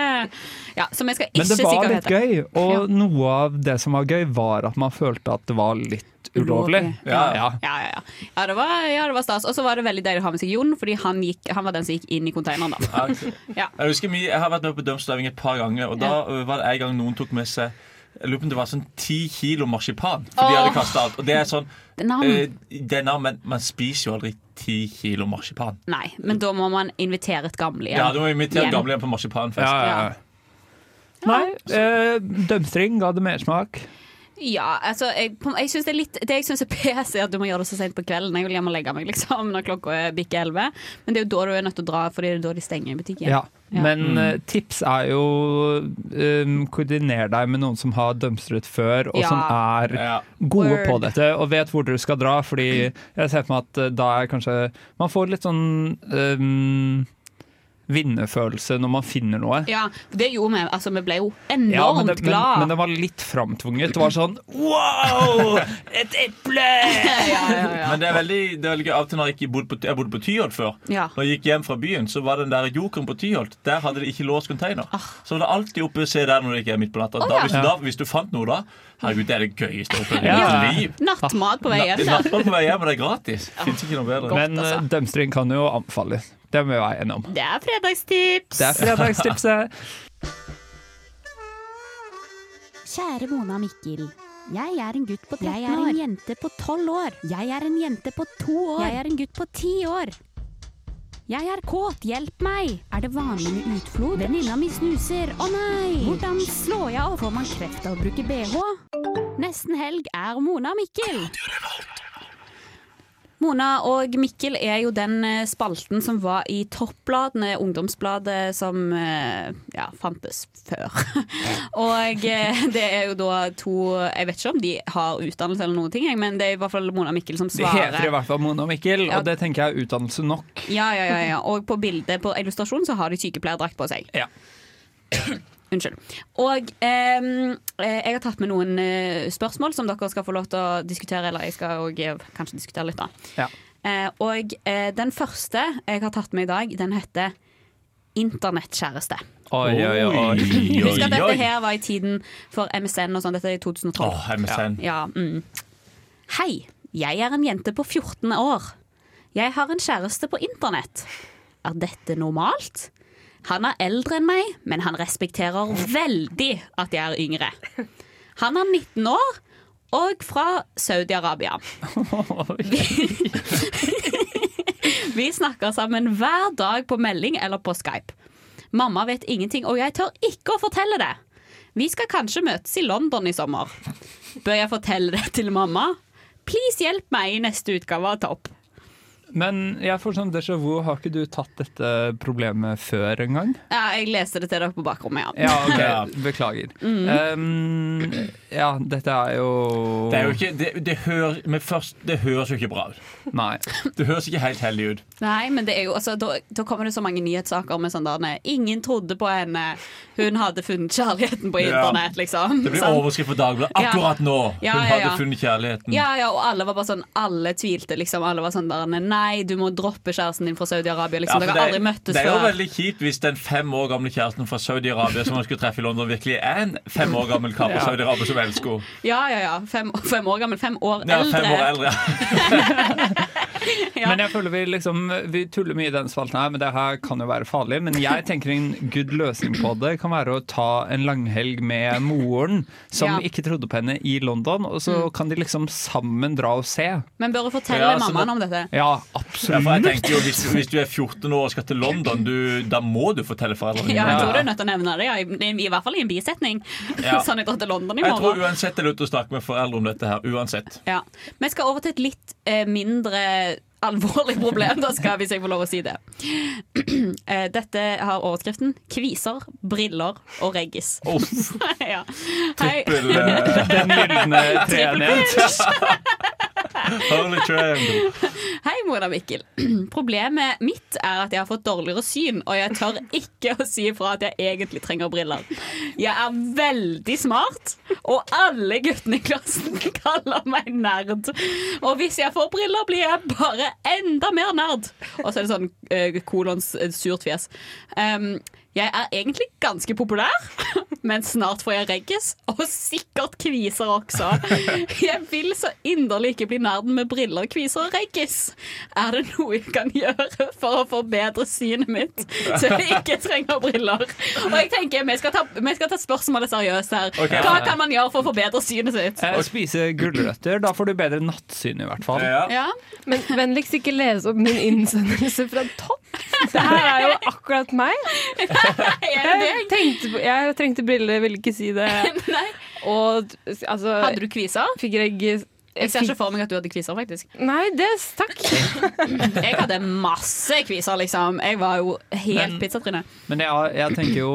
S8: Ja, Som jeg skal ikke
S7: Men det var
S8: sikkert
S7: litt
S8: hete.
S7: gøy, og noe av det som var gøy, var at man følte at det var litt ulovlig.
S8: Ulovlig.
S7: Ja, ja.
S8: Ja, ja, ja. Ja, det var, ja, det var stas. Og så var det veldig deilig å ha med seg Jon, fordi han, gikk, han var den som gikk inn i containeren. da. Ja.
S3: Jeg husker mye- jeg har vært med på dumpstøving et par ganger, og da ø, var det en gang noen tok med seg jeg lurer på om det var sånn ti kilo marsipan. For de hadde
S8: Åh.
S3: kastet alt. Og det er sånn
S8: Det er nam.
S3: ø, det er nam, men man spiser jo aldri ti kilo marsipan.
S8: Nei, men da må man invitere et gamlehjem.
S3: Ja, du må invitere
S8: Hjem.
S3: gamlehjem på marsipanfest.
S7: Ja, ja, ja. Nei, eh, dømstring ga det mersmak.
S8: Ja, altså, jeg, på- jeg synes det, er litt, det jeg syns er pes, er at du må gjøre det så sent på kvelden. Jeg vil hjem og legge meg liksom, når klokka er bikke elleve. Men det er jo da du er nødt til å dra, Fordi det er da de stenger butikken.
S7: Ja. Men eh, tips er jo um, Koordiner deg med noen som har dømstret før, og
S8: Ja.
S7: som er gode
S8: Word.
S7: på dette, og vet hvor dere skal dra. Fordi jeg ser for meg at eh, da er kanskje Man får litt sånn um, vinnerfølelse når man finner noe.
S8: Ja, det gjorde vi. Altså, vi ble jo
S7: Ja, men,
S8: enormt
S7: det, men,
S8: glad. [laughs]
S7: men det var litt framtvunget. Det var sånn Wow! Et eple!
S3: Men det er veldig, det er veldig gøy. Av og til når jeg, ikke bodde på, jeg bodde på Tyholt før,
S8: Ja.
S3: når jeg gikk hjem fra byen, så var den der jokeren på Tyholt Der hadde de ikke låst container. Så var det alltid oppe se der når det ikke er midt på natta.
S8: Ah. Å,
S3: da,
S8: ja.
S3: hvis, du da, hvis du fant noe da Herregud, det er det gøyeste opplevelsen i
S7: Ja.
S3: mitt liv.
S8: Nattmat på vei hjem.
S3: Na- nattmat på vei hjem, og det er gratis. Fins ikke noe bedre.
S7: Men eh,
S8: altså.
S7: dømstring kan jo anbefales. Det må vi være enige om.
S8: Det er fredagstips.
S7: Det er
S8: [laughs]
S7: fredagstipset.
S1: Kjære Mona og Mikkel. Jeg er en gutt på 13 år. Jeg er en jente på 12 år. Jeg er en jente på 2 år. Jeg er en gutt på 10 år. Jeg er kåt, hjelp meg! Er det vanlig med utflod? Venninna mi snuser, å nei! Hvordan slår jeg av? Får man kreft av å bruke bh? Nesten helg er Mona og Mikkel.
S8: Mona og Mikkel er jo den eh, spalten som var i toppbladene, ungdomsbladet som eh, ja, fantes før. [laughs] og eh, det er jo da to Jeg vet ikke om de har utdannelse eller noen ting, jeg, men det er i hvert fall Mona og Mikkel som
S7: De
S8: svarer.
S7: heter i hvert fall Mona og Mikkel,
S8: Ja.
S7: og det tenker jeg er utdannelse nok.
S8: Ja, ja, ja, ja. Og på bildet på illustrasjonen så har de sykepleierdrakt på seg.
S7: Ja.
S8: Unnskyld. Og ehm, eh, jeg har tatt med noen eh, spørsmål som dere skal få lov til å diskutere, eller jeg skal og, eh, kanskje diskutere litt, da.
S7: Ja.
S8: Eh, og eh, den første jeg har tatt med i dag, den heter Internettkjæreste.
S7: Oi, oi, oi.
S8: Husk at dette her var i tiden for MSN og sånn. Dette er i 2012.
S3: Åh, MSN.
S8: Ja, ja, mm. Hei, jeg er en jente på 14 år. Jeg har en kjæreste på internett. Er dette normalt? Han er eldre enn meg, men han respekterer veldig at jeg er yngre. Han er 19 år og fra Saudi-Arabia. Vi snakker sammen hver dag på melding eller på Skype. Mamma vet ingenting, og jeg tør ikke å fortelle det. Vi skal kanskje møtes i London i sommer. Bør jeg fortelle det til mamma? Please hjelp meg i neste utgave av Topp.
S7: [laughs] Men jeg får sånn déjà vu. Har ikke du tatt dette problemet før engang?
S8: Ja, jeg leste det til dere på bakrommet,
S7: [laughs]
S8: ja.
S7: Ja, ok, beklager.
S8: Mm.
S7: Um, ja, dette er jo
S3: Det, er jo ikke, det, det, hører, men først, det høres jo ikke bra ut.
S7: Nei.
S3: Det høres ikke helt heldig ut.
S8: Nei, men det er jo, altså, da, da kommer det så mange nyhetssaker med sånn der nei, Ingen trodde på henne. Hun hadde funnet kjærligheten på
S3: Ja.
S8: internett, liksom.
S3: Det blir
S8: Sant?
S3: overskrift for Dagbladet
S8: Ja.
S3: akkurat nå! Hun
S8: Ja, ja, ja.
S3: hadde funnet kjærligheten.
S8: Ja, ja, og alle var bare sånn Alle tvilte, liksom. Alle var sånn der Nei, du må droppe kjæresten din fra Saudi-Arabia, liksom.
S3: Ja, for
S8: Dere har aldri møttes
S3: det er jo
S8: før.
S3: veldig kjipt hvis den fem år gamle kjæresten fra Saudi-Arabia som han skulle treffe i London, virkelig er en fem år gammel kar fra
S8: Ja.
S3: Saudi-Arabia som elsker henne.
S8: Ja, ja, ja. Fem, fem år gammel. Fem år
S3: Ja,
S8: eldre.
S3: fem år eldre.
S7: Men jeg føler vi liksom Vi tuller mye i den spalten her, men det her kan jo være farlig. Men jeg tenker en good løsning på det kan være å ta en langhelg med moren, som
S8: Ja.
S7: ikke trodde på henne, i London, og så kan de liksom sammen dra og se.
S8: Men bør du fortelle
S3: altså,
S7: Ja, så
S8: mammaen
S7: må-
S8: om dette?
S7: Ja,
S3: Ja, for jeg
S7: absolutt.
S3: tenker jo, hvis, hvis du er 14 år og skal til London, du, da må du fortelle foreldrene
S8: Ja, jeg tror du er nødt til å nevne det, ja. I, i, i hvert fall i en bisetning.
S3: Ja.
S8: [laughs] sånn jeg drar til London i
S3: Jeg tror
S8: morgen.
S3: uansett det er lurt å snakke med foreldre om dette her. Uansett.
S8: Ja. Vi skal over til et litt eh, mindre alvorlig problem, da skal, hvis jeg får lov å si det. [clears throat] Eh, Dette har overskriften 'Kviser, briller og reggis'. [laughs]
S3: [laughs]
S8: ja. Hei.
S3: Trippel, E. eh,
S7: Den gylne
S8: E.
S7: treenighet.
S3: Holy triangle.
S8: Hei, Mona Mikkel. [clears throat] Problemet mitt er at jeg har fått dårligere syn, og jeg tør ikke å si ifra at jeg egentlig trenger briller. Jeg er veldig smart, og alle guttene i klassen [laughs] kaller meg nerd. Og hvis jeg får briller, blir jeg bare enda mer nerd. Og så er det sånn eh, kolons eh, surt fjes. Um, jeg er egentlig ganske populær, [laughs] men snart får jeg reggis, og sikkert kviser også. Jeg vil så inderlig ikke bli nerden med briller, kviser og reggis. Er det noe jeg kan gjøre for å forbedre synet mitt, så jeg ikke trenger briller? Og jeg tenker, vi skal ta, vi skal ta spørsmålet seriøst her.
S7: Ok.
S8: Hva kan man gjøre for å forbedre synet sitt?
S7: Eh, Spise gulrøtter. Da får du bedre nattsyn, i hvert fall.
S17: Men vennligst ikke lese opp min innsendelse fra topp. Det her er jo akkurat meg. Jeg, tenkte, på- jeg trengte briller, ville ikke si
S8: [laughs]
S17: det. Og altså
S8: Hadde du kviser?
S17: Fikk reggis.
S8: Jeg ser ikke for meg at du hadde kviser, faktisk.
S17: Nei, det takk.
S8: Jeg hadde masse kviser, liksom. Jeg var jo helt
S3: Men-
S8: pizzatryne.
S7: Men jeg, jeg tenker jo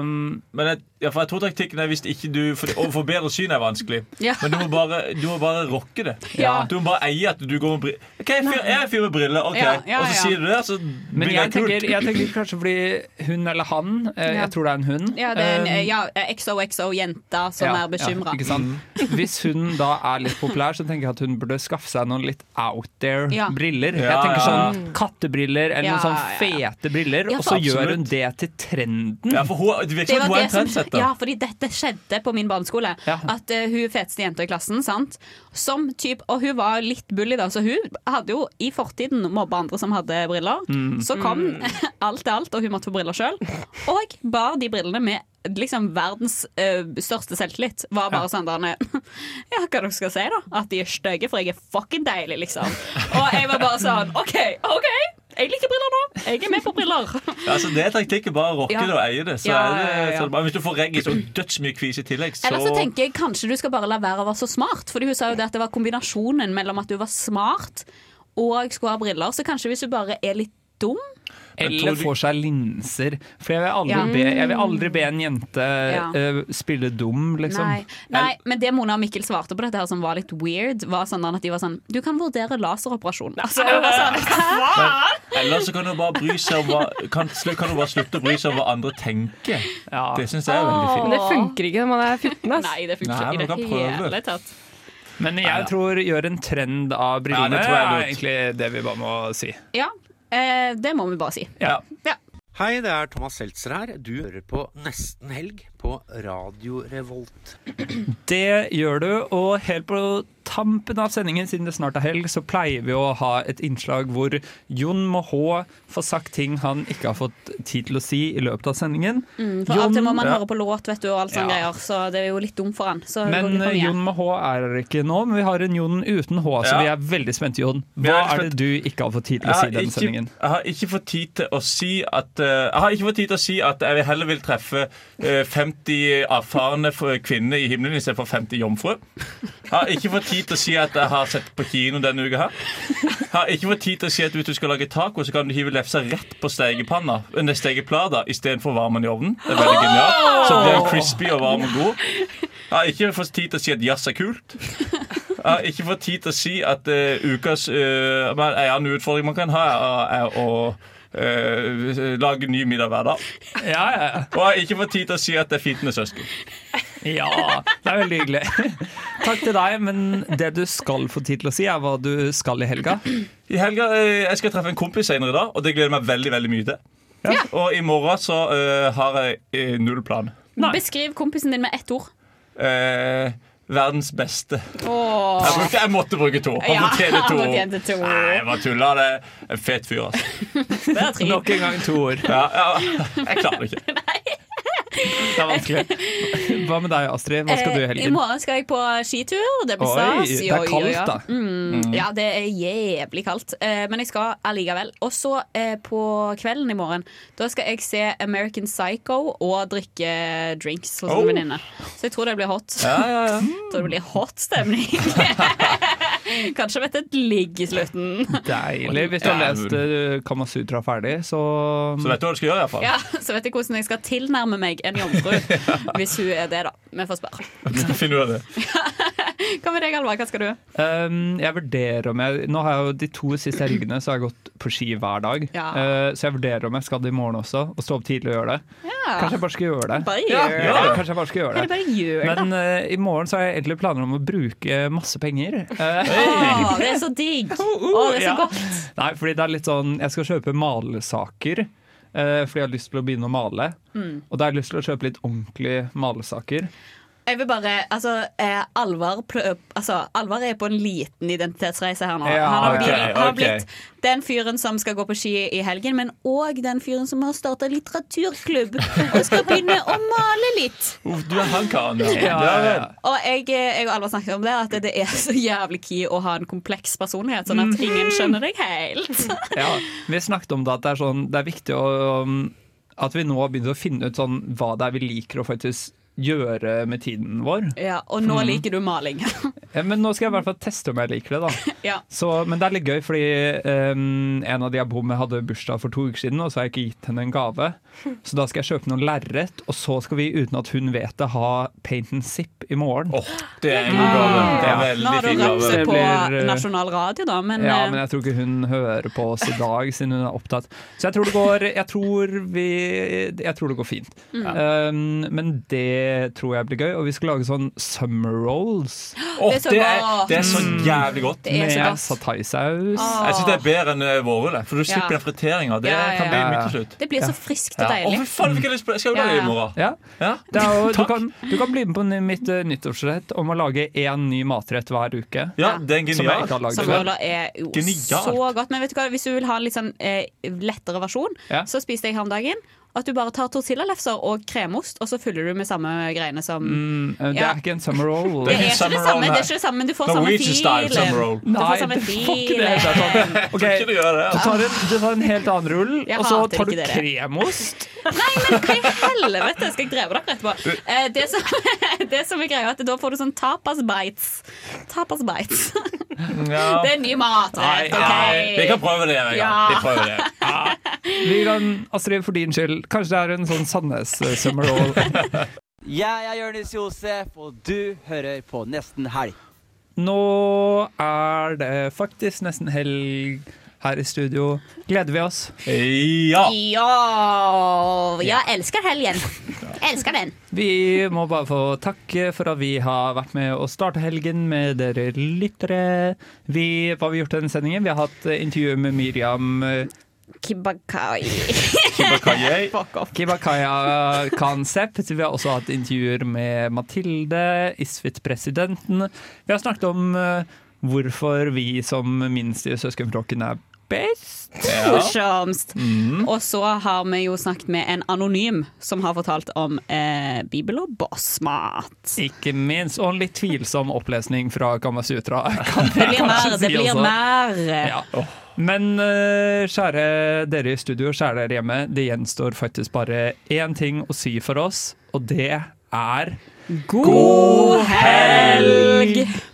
S7: mm,
S3: Men jeg, ja, for jeg tror taktikken er hvis ikke du For å få bedre syn er vanskelig.
S8: [laughs] Ja.
S3: Men du må bare, du må bare rocke det.
S7: Ja.
S3: Du må bare eie at du går med briller. OK, jeg er fyr- jeg er en fyr med briller. ok
S7: Ja, ja,
S3: Og så
S7: ja.
S3: sier du det, så
S7: Men
S3: blir
S7: jeg
S3: det kult.
S7: tenker, jeg tenker kanskje fordi hun eller han eh,
S8: Ja.
S7: Jeg tror det er en hun.
S8: Ja, det er en
S7: eh,
S8: ja, XOXO-jenta som
S7: ja,
S8: er bekymra.
S7: ja,
S3: Mm.
S7: ikke sant? Hvis hun da er litt populær, så tenker jeg at hun burde skaffe seg noen litt out
S8: Ja.
S7: there-briller.
S3: Ja,
S7: Jeg tenker
S3: ja.
S7: sånn kattebriller eller
S8: Ja,
S7: noen sånn fete briller,
S8: Ja,
S7: og
S8: for-
S7: så gjør hun
S8: Absolutt.
S7: det til trenden.
S3: Ja, for hun, det virker som at hun er en trendsetter.
S8: ja, fordi dette skjedde på min barneskole. At eh, hun feteste jenta i klassen, sant? Som typ, og hun var litt bully da, så hun hadde jo i fortiden mobba andre som hadde briller.
S4: Mm.
S8: Så kom [laughs] alt til alt, og hun måtte få briller sjøl. Og bar de brillene med liksom verdens eh, største selvtillit. Var bare sånn der [laughs] Ja, hva dere skal si, da? At de er stygge, for jeg er fucking deilig, liksom. Og jeg var bare sånn OK, OK. Jeg liker briller nå. Jeg er med på briller.
S3: Ja, altså, det er taktikken. Bare rocke
S8: Ja.
S3: det og eie det. Så
S8: Ja,
S3: er det,
S8: ja, ja, ja.
S3: så er det bare, hvis du får reggis og dødsmye kvis i tillegg, så
S8: Eller så tenker jeg kanskje du skal bare la være å være så smart. Fordi hun sa jo det at det var kombinasjonen mellom at du var smart og skulle ha briller. Så kanskje hvis du bare er litt dum
S7: Eller får seg linser. For jeg vil aldri,
S8: Ja.
S7: be, jeg vil aldri be en jente
S8: Ja.
S7: eh, spille dum, liksom.
S8: Nei. Nei, men det Mona og Mikkel svarte på dette her som var litt weird, var sånn at de var sånn Du kan vurdere laseroperasjon. [laughs] Altså, jeg var sånn,
S3: Men, eller så kan du bare bry seg om hva kan, slu- kan du bare slutte å bry seg om hva andre tenker. Det syns jeg er veldig fint.
S17: Men det funker ikke når man er 14. ass.
S8: [laughs] Nei, det
S3: Nei, men du kan prøve.
S8: tatt.
S7: Men jeg tror gjør en trend av brillene.
S3: det tror jeg er
S7: er egentlig det vi bare må si.
S8: Ja, eh, det må vi bare si.
S23: Hei, det er Thomas Seltzer her. Du hører på Nesten Helg på Radio Revolt.
S7: Det gjør du, og helt på tampen av sendingen, siden det snart er helg, så pleier vi å ha et innslag hvor Jon må hå får sagt ting han ikke har fått tid til å si i løpet av sendingen.
S8: Mm, for av og til må man
S7: Ja.
S8: høre på låt, vet du, og alt sånne
S7: Ja.
S8: greier, så det er jo litt dumt for han. Så det går
S7: Men eh,
S8: litt for mye.
S7: Jon med H er her ikke nå, men vi har en Jon uten H, så
S3: Ja.
S7: vi er veldig spente, Jon.
S3: er
S7: Hva
S3: veldig
S7: er det du ikke har fått tid til å si i denne
S3: ikke,
S7: sendingen?
S3: jeg har ikke fått tid til å si at eh, Jeg har ikke fått tid til å si at jeg heller vil treffe eh, 50 erfarne f- kvinner i himmelen istedenfor 50 jomfruer. Jeg har ikke fått tid til å si at jeg har sett på kino denne uka her. Jeg har ikke fått tid til å si at hvis du skal lage taco, så kan du hive lefsa rett på stekepanna under stekeplata istedenfor varmen i ovnen. Det er veldig genialt. Så blir den crispy og varm og god. Jeg har ikke fått tid til å si at jazz er kult. Jeg har ikke fått tid til å si at eh, ukas eh, men En annen utfordring man kan ha, er, er å eh, lage ny middag hver dag. Og jeg har ikke fått tid til å si at det er fitende søsken.
S7: Ja, det er veldig hyggelig. [laughs] Takk til deg, men det du skal få tid til å si, er hva du skal i helga.
S3: I helga, eh, Jeg skal treffe en kompis senere i dag, og det gleder jeg meg veldig veldig mye til. Og i morgen så eh, har jeg eh, null plan.
S8: Beskriv kompisen din med ett ord.
S3: Eh, verdens beste.
S8: Åh.
S3: Jeg, brukte, jeg måtte bruke to. Han
S8: Ja, [laughs]
S3: fortjener to.
S8: han fortjente to.
S3: Nei, jeg bare tulla. Det er en fet fyr, altså.
S8: Det er trist.
S7: Nok en gang to ord.
S3: Ja, ja, jeg klarer det ikke.
S7: Det er vanskelig. Hva med deg, Astrid? Hva skal du i
S8: Eh, I
S7: helgen?
S8: morgen skal jeg på skitur. Det blir
S7: Oi,
S8: stas.
S7: det er
S8: Jo, jo,
S7: kaldt,
S8: ja.
S7: da.
S8: Mm,
S7: Mm.
S8: ja, det er jævlig kaldt. Eh, Men jeg skal allikevel. Og så eh, på kvelden i morgen, da skal jeg se American Psycho og drikke drinks hos
S7: Oh.
S8: en venninne. Så jeg [laughs] tror det blir hot.
S7: Ja, ja, ja. [laughs]
S8: Jeg tror det blir hot stemning. Kanskje vet et ligg i
S7: [laughs]
S8: slutten.
S7: Deilig. Hvis du har lest eh, Kamasutra ferdig, så mm,
S3: Så vet du hva du skal gjøre, iallfall.
S8: Ja, så vet jeg hvordan jeg skal tilnærme meg en
S7: [laughs]
S8: jomfru. Hvis hun er det, da. Vi får spørre.
S3: [laughs] Finner du av det.
S8: Hva med deg, Alva? Hva skal du?
S7: Um, jeg vurderer om jeg Nå har jeg jo de to siste helgene Så har jeg gått på ski hver dag.
S8: Ja.
S7: Eh, så jeg vurderer om jeg skal det i morgen også, og stå opp tidlig og gjøre det. Kanskje jeg bare skal gjøre det.
S8: Bare
S7: ja,
S8: gjør
S7: ja,
S8: det.
S7: Kanskje jeg bare skal gjøre
S8: Kan du
S7: det.
S8: bare gjøre det?
S7: Men eh, i morgen så har jeg egentlig planer om å bruke masse penger. Eh,
S8: [laughs] Å, det er så
S7: [laughs]
S8: digg! Å, det er så
S7: Oh, ja.
S8: godt.
S7: Nei, fordi det er litt sånn Jeg skal kjøpe malesaker, eh, fordi jeg har lyst til å begynne å male.
S8: Mm.
S7: Og da har jeg lyst til å kjøpe litt ordentlige malesaker.
S8: Jeg vil bare, altså, eh, Alvar, prø- altså, Alvar er på en liten identitetsreise her nå.
S7: Ja,
S8: han har,
S7: ok,
S8: blitt, han
S7: ok.
S8: har blitt den fyren som skal gå på ski i helgen, men òg den fyren som har starta litteraturklubb og skal begynne å male litt.
S3: Uff, du er han karen, ja.
S8: Ja,
S3: ja, ja.
S8: Og jeg, eh, jeg og Alvar snakket om det, at det er så jævlig key å ha en kompleks personlighet, sånn at
S7: Mm.
S8: ingen skjønner deg helt.
S7: Ja, vi snakket om det at det er, sånn, det er viktig å, um, at vi nå har begynt å finne ut sånn, hva det er vi liker å faktisk gjøre med tiden vår.
S8: Ja, og nå
S7: Mm.
S8: liker du maling.
S7: Ja, men nå skal jeg i hvert fall teste om jeg liker det, da.
S8: [laughs] ja.
S7: Så, men det er litt gøy, fordi um, en av de jeg bor med hadde bursdag for to uker siden, og så har jeg ikke gitt henne en
S8: [laughs]
S7: gave. Så da skal jeg kjøpe noen lerret, og så skal vi, uten at hun vet det, ha paint and zip i morgen.
S3: det er en god gave. Det er en
S8: Nå har
S3: veldig
S8: du
S3: fin
S8: ramset
S3: gave.
S8: på
S7: blir, eh,
S8: nasjonal radio, da, men,
S7: ja,
S8: eh,
S7: men jeg tror ikke hun hører på oss i dag, siden hun er opptatt. Så jeg tror det går Jeg tror, vi, jeg tror det går fint.
S8: Mm.
S7: Um, men det tror jeg blir gøy. Og vi skal lage sånn summer
S8: [gasps]
S7: rolls.
S3: Åh, det, er, det er så jævlig godt.
S7: Det er så Med godt. sataisaus.
S8: Ah.
S7: Åh.
S3: Jeg syns det er bedre enn eh, vårrulle, for du
S8: Ja.
S3: slipper den friteringa. Det
S8: Ja, ja,
S3: kan bli
S8: ja.
S3: mye til slutt.
S8: Det blir så
S3: Ja.
S8: friskt
S3: Ja.
S8: og deilig.
S3: Å, fy faen, fikk jeg lyst på det! Skal jeg lage det i morgen?
S7: Ja.
S3: Ja?
S7: Det
S3: [laughs]
S7: er jo, du, kan, du kan bli med på n- mitt eh, nyttårsrett om å lage én ny matrett hver uke.
S3: Ja, det er genialt.
S7: Som jeg ikke har lagd før.
S8: Sambola er jo
S7: Genialt.
S8: så godt. Men vet du hva, hvis du vil ha en litt sånn eh, lettere versjon,
S7: Ja.
S8: så spiste jeg her om dagen at du bare tar tortillalefser og kremost, og så fyller du med samme greiene som
S7: Mm, eh, det
S8: Ja.
S7: er ikke en summer roll.
S8: Det er ikke det samme, det er ikke det samme, men du får samme filen. Du får
S7: Nei,
S8: samme
S7: det får ikke det.
S8: filen.
S7: det er sånn. Ok, du, tar en, du tar en helt annen rull,
S8: Jeg
S7: og så
S8: hater
S7: tar du
S8: ikke dere.
S7: kremost.
S8: Nei, men hva i helvete skal jeg dreve dere etterpå? Eh, det, som, [laughs] det som er greia, er at da får du sånn tapas bites. Tapas bites.
S3: Ja.
S8: Det er ny matrett,
S3: Ah. Nei, nei,
S8: OK?
S3: Vi kan prøve det en gang.
S8: Ja.
S3: Vi prøver det.
S7: Vi kan, Astrid, for din skyld, kanskje det er en sånn Sandnes-summer roll.
S4: Jeg er Jonis Josef, og du hører på Nesten Helg.
S7: Nå er det faktisk nesten helg her i studio. Gleder vi oss?
S3: Ja.
S8: Ja, jeg elsker helgen. Elsker den.
S7: Vi må bare få takke for at vi har vært med å starte helgen med dere lyttere. Vi, hva har vi gjort i denne sendingen? Vi har hatt eh, intervju med Miriam eh,
S8: Kibakai.
S7: Kibakaya Concept. Vi har også hatt intervjuer med Mathilde, Isfit-presidenten. Vi har snakket om eh, hvorfor vi som minst i søskenflokken er best.
S8: Morsomst.
S7: Mm.
S8: Og så har vi jo snakket med en anonym som har fortalt om eh, bibel og bossmat.
S7: Ikke minst. Og en litt tvilsom opplesning fra Kamasutra. [laughs] Kan
S8: Det blir mer,
S7: kanskje
S8: det
S7: si
S8: blir
S7: også.
S8: mer.
S7: Ja. Men eh, kjære dere i studio, kjære dere hjemme, det gjenstår faktisk bare én ting å si for oss, og det er
S8: God helg!